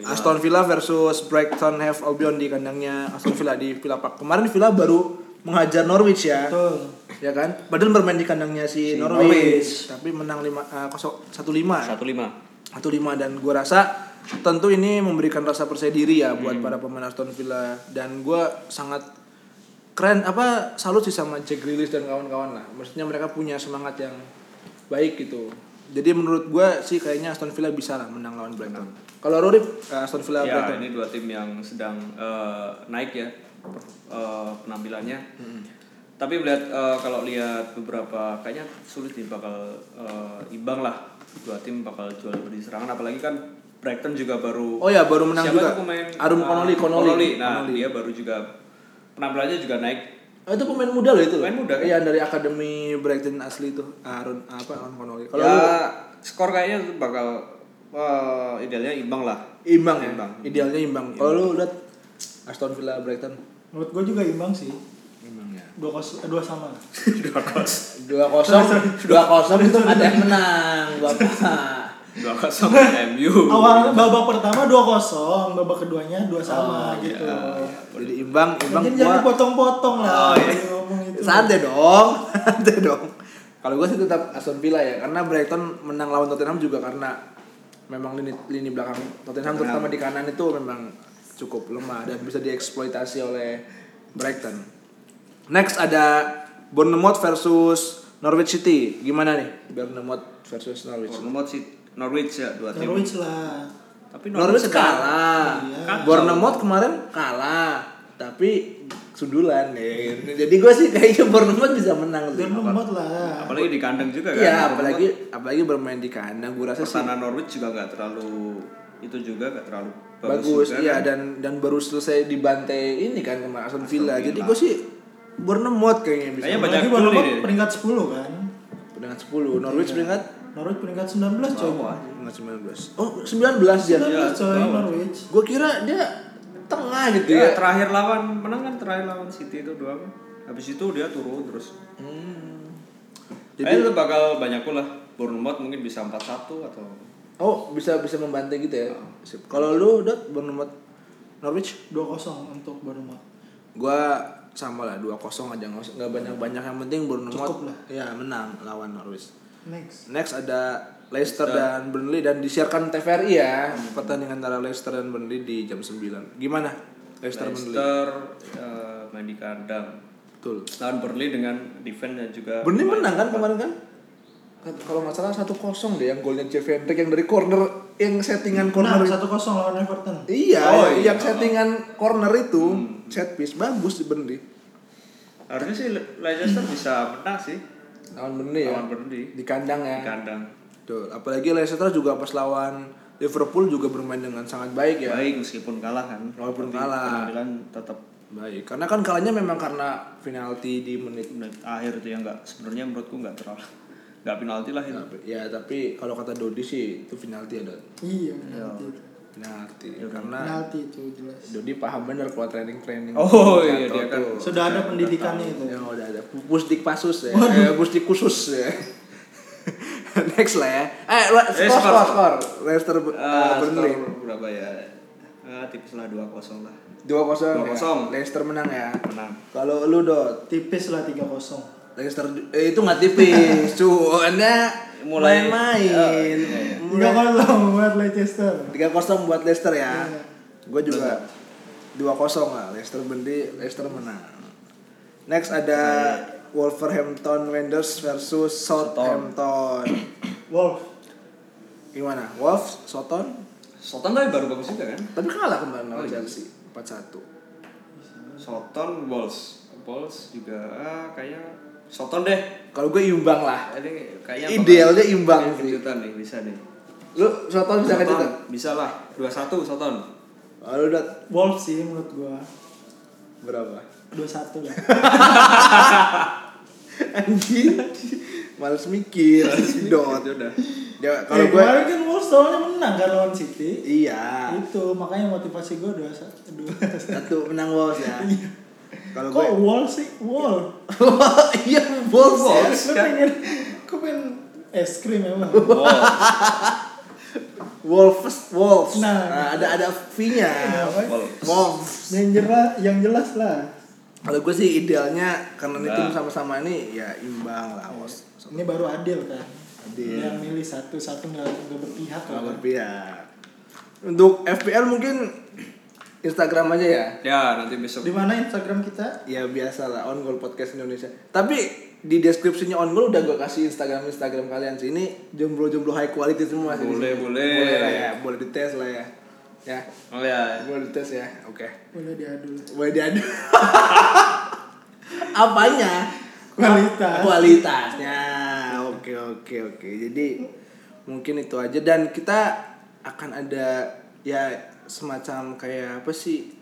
Speaker 5: Aston Villa versus Brighton Have Albion di kandangnya Aston Villa di Villa Park. Kemarin Villa baru menghajar Norwich ya.
Speaker 3: Betul.
Speaker 5: ya kan padahal bermain di kandangnya si, Norwich,
Speaker 3: Norwich.
Speaker 5: tapi menang lima eh, satu lima
Speaker 6: 1-5.
Speaker 5: satu lima dan gue rasa tentu ini memberikan rasa percaya diri ya
Speaker 2: Hmm.
Speaker 5: buat para pemain Aston Villa dan gue sangat keren apa salut sih sama Jack Grealish dan kawan-kawan lah maksudnya mereka punya semangat yang baik gitu jadi menurut gue sih kayaknya Aston Villa bisa lah menang lawan Brighton kalau Rory eh, Aston Villa
Speaker 2: Ya,
Speaker 5: Brighton
Speaker 2: ini dua tim yang sedang eh, naik ya eh, penampilannya. Tapi melihat eh, kalau lihat beberapa kayaknya sulit nih bakal eh, imbang lah. Dua tim bakal jual beli serangan apalagi kan Brighton juga baru
Speaker 5: oh ya baru menang
Speaker 2: Siapa
Speaker 5: juga
Speaker 2: tuh pemain
Speaker 5: Arum
Speaker 2: eh,
Speaker 5: Connolly Connolly,
Speaker 2: Nah, dia baru juga penampilannya juga naik
Speaker 5: Oh, itu pemain muda loh itu. loh.
Speaker 2: Pemain muda, kan?
Speaker 5: Iya dari akademi Brighton asli tuh. Aaron apa Aaron Connolly. Kalau
Speaker 2: ya,
Speaker 5: lu
Speaker 2: skor kayaknya tuh bakal eh, idealnya imbang lah.
Speaker 5: imbang ya, Idealnya imbang. Kalau lu lihat Aston Villa Brighton
Speaker 3: Menurut gua juga imbang sih.
Speaker 5: imbang [LAUGHS] ya.
Speaker 3: 2 dua sama lah.
Speaker 5: [LAUGHS] 2-0 2-0 itu ada yang menang, Bapak.
Speaker 6: 2-0
Speaker 5: [LAUGHS]
Speaker 6: MU.
Speaker 3: Awal babak pertama 2-0, babak keduanya 2 sama gitu.
Speaker 5: Jadi imbang, Oh, iya. imbang
Speaker 3: Mungkin
Speaker 5: gua
Speaker 3: jangan potong-potong lah.
Speaker 5: Oh, iya.
Speaker 3: kalau ngomong itu.
Speaker 5: santai dong, [LAUGHS] santai dong. Kalau gue sih tetap Aston Villa ya, karena Brighton menang lawan Tottenham juga karena memang lini lini belakang Tottenham terutama di kanan itu memang cukup lemah dan bisa dieksploitasi oleh Brighton. Next ada Bournemouth versus Norwich City. Gimana nih Bournemouth versus Norwich?
Speaker 2: Bournemouth sih Norwich ya dua tim.
Speaker 3: Norwich lah.
Speaker 2: Tapi
Speaker 5: Norwich kalah.
Speaker 3: Iya.
Speaker 5: Bournemouth kemarin kalah, tapi sundulan ya. Jadi gue sih kayaknya Bournemouth bisa menang. sih.
Speaker 3: Bournemouth lah.
Speaker 2: apalagi di kandang juga kan.
Speaker 5: Iya,
Speaker 2: Bournemouth
Speaker 5: apalagi apalagi bermain di kandang gue rasa sih
Speaker 2: pertahanan Norwich juga nggak terlalu itu juga nggak terlalu
Speaker 5: bagus,
Speaker 2: juga
Speaker 5: iya
Speaker 2: kan.
Speaker 5: dan dan baru selesai dibantai ini kan kemarin Aston Villa. Jadi gue sih Bournemouth kayaknya bisa.
Speaker 2: Kayaknya banyak
Speaker 3: Apalagi
Speaker 2: gol
Speaker 3: Bournemouth
Speaker 2: nih.
Speaker 3: peringkat 10 kan.
Speaker 5: Peringkat 10, Norwich peringkat
Speaker 3: Norwich peringkat 19 coy.
Speaker 5: peringkat 19. Oh, 19 dia.
Speaker 3: 19 coy Norwich.
Speaker 5: Gue kira dia tengah gitu ya.
Speaker 2: Dia terakhir lawan menang kan terakhir lawan City itu doang. Habis itu dia turun terus. Jadi
Speaker 5: Hmm. Jadi
Speaker 2: itu bakal banyak gol lah. Bournemouth mungkin bisa 4-1 atau
Speaker 5: oh bisa bisa membantai gitu ya. Sip. Kalau lu dot Bournemouth Norwich
Speaker 3: 2-0 untuk Bournemouth.
Speaker 5: gua sama lah 2-0 aja nggak usah- nggak banyak-banyak yang penting Bournemouth
Speaker 3: Cukup lah.
Speaker 5: ya menang lawan Norwich.
Speaker 3: Next.
Speaker 5: Next ada Leicester dan Burnley dan disiarkan TVRI ya pertandingan antara Leicester dan Burnley di jam 9. Gimana? Leicester, Burnley.
Speaker 2: Leicester eh, main di kandang.
Speaker 5: Betul.
Speaker 2: Lawan Burnley dengan defense dan juga
Speaker 5: Burnley menang kan kemarin kan? Kan- Kalau nggak salah 1-0 deh yang golnya Jeff Hendrick yang dari corner yang settingan
Speaker 3: Nah,
Speaker 5: corner
Speaker 3: 1-0 lawan Everton.
Speaker 5: Iya, yang-
Speaker 2: Oh, iya. Hmm.
Speaker 5: yang settingan corner itu set piece bagus di Burnley.
Speaker 2: harusnya sih Le- Leicester bisa menang sih
Speaker 5: Lawan Burnley ya.
Speaker 2: lawan Burnley
Speaker 5: Di kandang ya.
Speaker 2: di kandang.
Speaker 5: Betul. Apalagi Leicester juga pas lawan Liverpool juga bermain dengan sangat baik ya.
Speaker 2: Baik meskipun kalah kan.
Speaker 5: Walaupun
Speaker 2: Tapi
Speaker 5: kalah.
Speaker 2: penampilan tetap
Speaker 5: Baik. Karena kan kalahnya memang karena penalti di menit
Speaker 2: menit akhir itu yang nggak sebenarnya menurutku nggak terlalu nggak penalti lah itu.
Speaker 5: ya tapi kalau kata Dodi sih itu penalti ada
Speaker 3: Iya, penalti. itu.
Speaker 5: penalti Ya, karena
Speaker 3: Penalti itu jelas.
Speaker 5: Dodi paham bener kalau training training
Speaker 2: Oh, iya, dia kan
Speaker 3: Sudah ada pendidikannya itu.
Speaker 5: ya udah ada pusdik pasus ya eh, pusdik khusus ya [LAUGHS] next lah ya eh la- skor
Speaker 2: Eh, skor,
Speaker 5: skor
Speaker 2: skor.
Speaker 5: skor Leicester uh,
Speaker 2: Ah,
Speaker 5: Burnley
Speaker 2: skor berapa ya? Ah, tipis lah 2-0 lah.
Speaker 5: dua kosong ya.
Speaker 2: 2-0.
Speaker 5: Leicester menang ya
Speaker 2: Menang.
Speaker 5: kalau lu dot
Speaker 3: Tipis lah 3-0.
Speaker 5: Leicester eh, itu nggak tipis [LAUGHS] tuh anda mulai
Speaker 2: Mulai- Oh, iya,
Speaker 5: main-main
Speaker 3: Tiga
Speaker 5: Mulai-
Speaker 3: kosong buat Leicester.
Speaker 5: tiga kosong buat Leicester ya gue juga dua kosong lah Leicester bendi Leicester menang next ada Wolverhampton Wanderers versus Southampton
Speaker 3: Wolf.
Speaker 5: gimana Wolves Soton
Speaker 2: Soton tapi baru bagus juga kan?
Speaker 5: tapi kalah kemarin lawan Chelsea empat satu
Speaker 2: Soton Wolves. Wolves juga ah, kayaknya Soton deh.
Speaker 5: kalau gue imbang lah
Speaker 2: Ini kayaknya bakal-
Speaker 5: Idealnya imbang
Speaker 2: Ini
Speaker 5: sih.
Speaker 2: kejutan nih, bisa nih.
Speaker 5: lu Soton bisa
Speaker 2: Soton,
Speaker 5: kejutan
Speaker 2: bisa lah. 2-1 Soton.
Speaker 5: lalu udah
Speaker 3: Wolf sih menurut gua.
Speaker 5: berapa
Speaker 3: 2-1 [LAUGHS] lah.
Speaker 5: [LAUGHS] anjing [LAUGHS] males mikir dot udah ya kalau
Speaker 3: eh,
Speaker 5: gue
Speaker 3: kemarin kan Wolves soalnya menang kan lawan City.
Speaker 5: iya
Speaker 3: Itu makanya motivasi gue dua satu.
Speaker 5: satu menang Wolves ya
Speaker 3: Iya.
Speaker 5: kalau
Speaker 3: Kok
Speaker 5: gue
Speaker 3: Wolves sih? Wall.
Speaker 5: iya Wolves [LAUGHS] ya.
Speaker 3: Lu pengen, kok pengen es krim emang? [LAUGHS]
Speaker 5: Wolves Wolves
Speaker 3: Nah.
Speaker 5: nah, ada ada V-nya
Speaker 2: Wolves.
Speaker 5: Wolves
Speaker 3: yang jelas, yang jelas lah.
Speaker 5: kalau gue sih idealnya karena ini
Speaker 2: Nah.
Speaker 5: tim sama-sama ini ya imbang lah Wolves
Speaker 3: Ini baru adil kan.
Speaker 5: Adil.
Speaker 3: Yang milih satu satu nggak nggak berpihak
Speaker 5: Kalau
Speaker 3: lah.
Speaker 5: berpihak untuk FPL mungkin Instagram aja ya
Speaker 2: Ya, nanti besok
Speaker 3: Di mana Instagram kita?
Speaker 5: ya biasa lah on goal podcast Indonesia tapi di deskripsinya on goal udah gue kasih Instagram Instagram kalian sih ini jomblo jomblo high quality semua sih di
Speaker 2: Boleh,
Speaker 5: sini.
Speaker 2: boleh.
Speaker 5: boleh lah ya boleh dites lah ya ya
Speaker 2: Oh ya,
Speaker 5: boleh dites ya oke
Speaker 3: Boleh diadu. lah.
Speaker 5: boleh diadu [LAUGHS] apanya
Speaker 3: Kualitas.
Speaker 5: kualitasnya oke oke oke jadi mungkin itu aja dan kita akan ada ya semacam kayak apa sih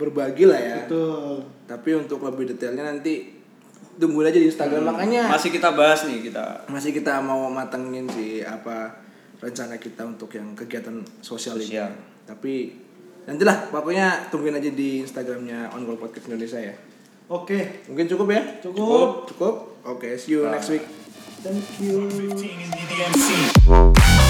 Speaker 5: berbagi lah ya
Speaker 3: Betul.
Speaker 5: tapi untuk lebih detailnya nanti tunggu aja di Instagram
Speaker 3: Iya.
Speaker 5: makanya
Speaker 2: masih kita bahas nih kita.
Speaker 5: masih kita mau matengin sih apa rencana kita untuk yang kegiatan sosial ini.
Speaker 2: Sosial.
Speaker 5: Tapi nantilah pokoknya tungguin aja di Instagramnya On Goal Podcast Indonesia ya.
Speaker 3: Oke.
Speaker 5: Mungkin cukup ya?
Speaker 3: Cukup.
Speaker 5: Cukup. Oke, see you next week.
Speaker 3: Thank you.
Speaker 4: 15 and be the MC.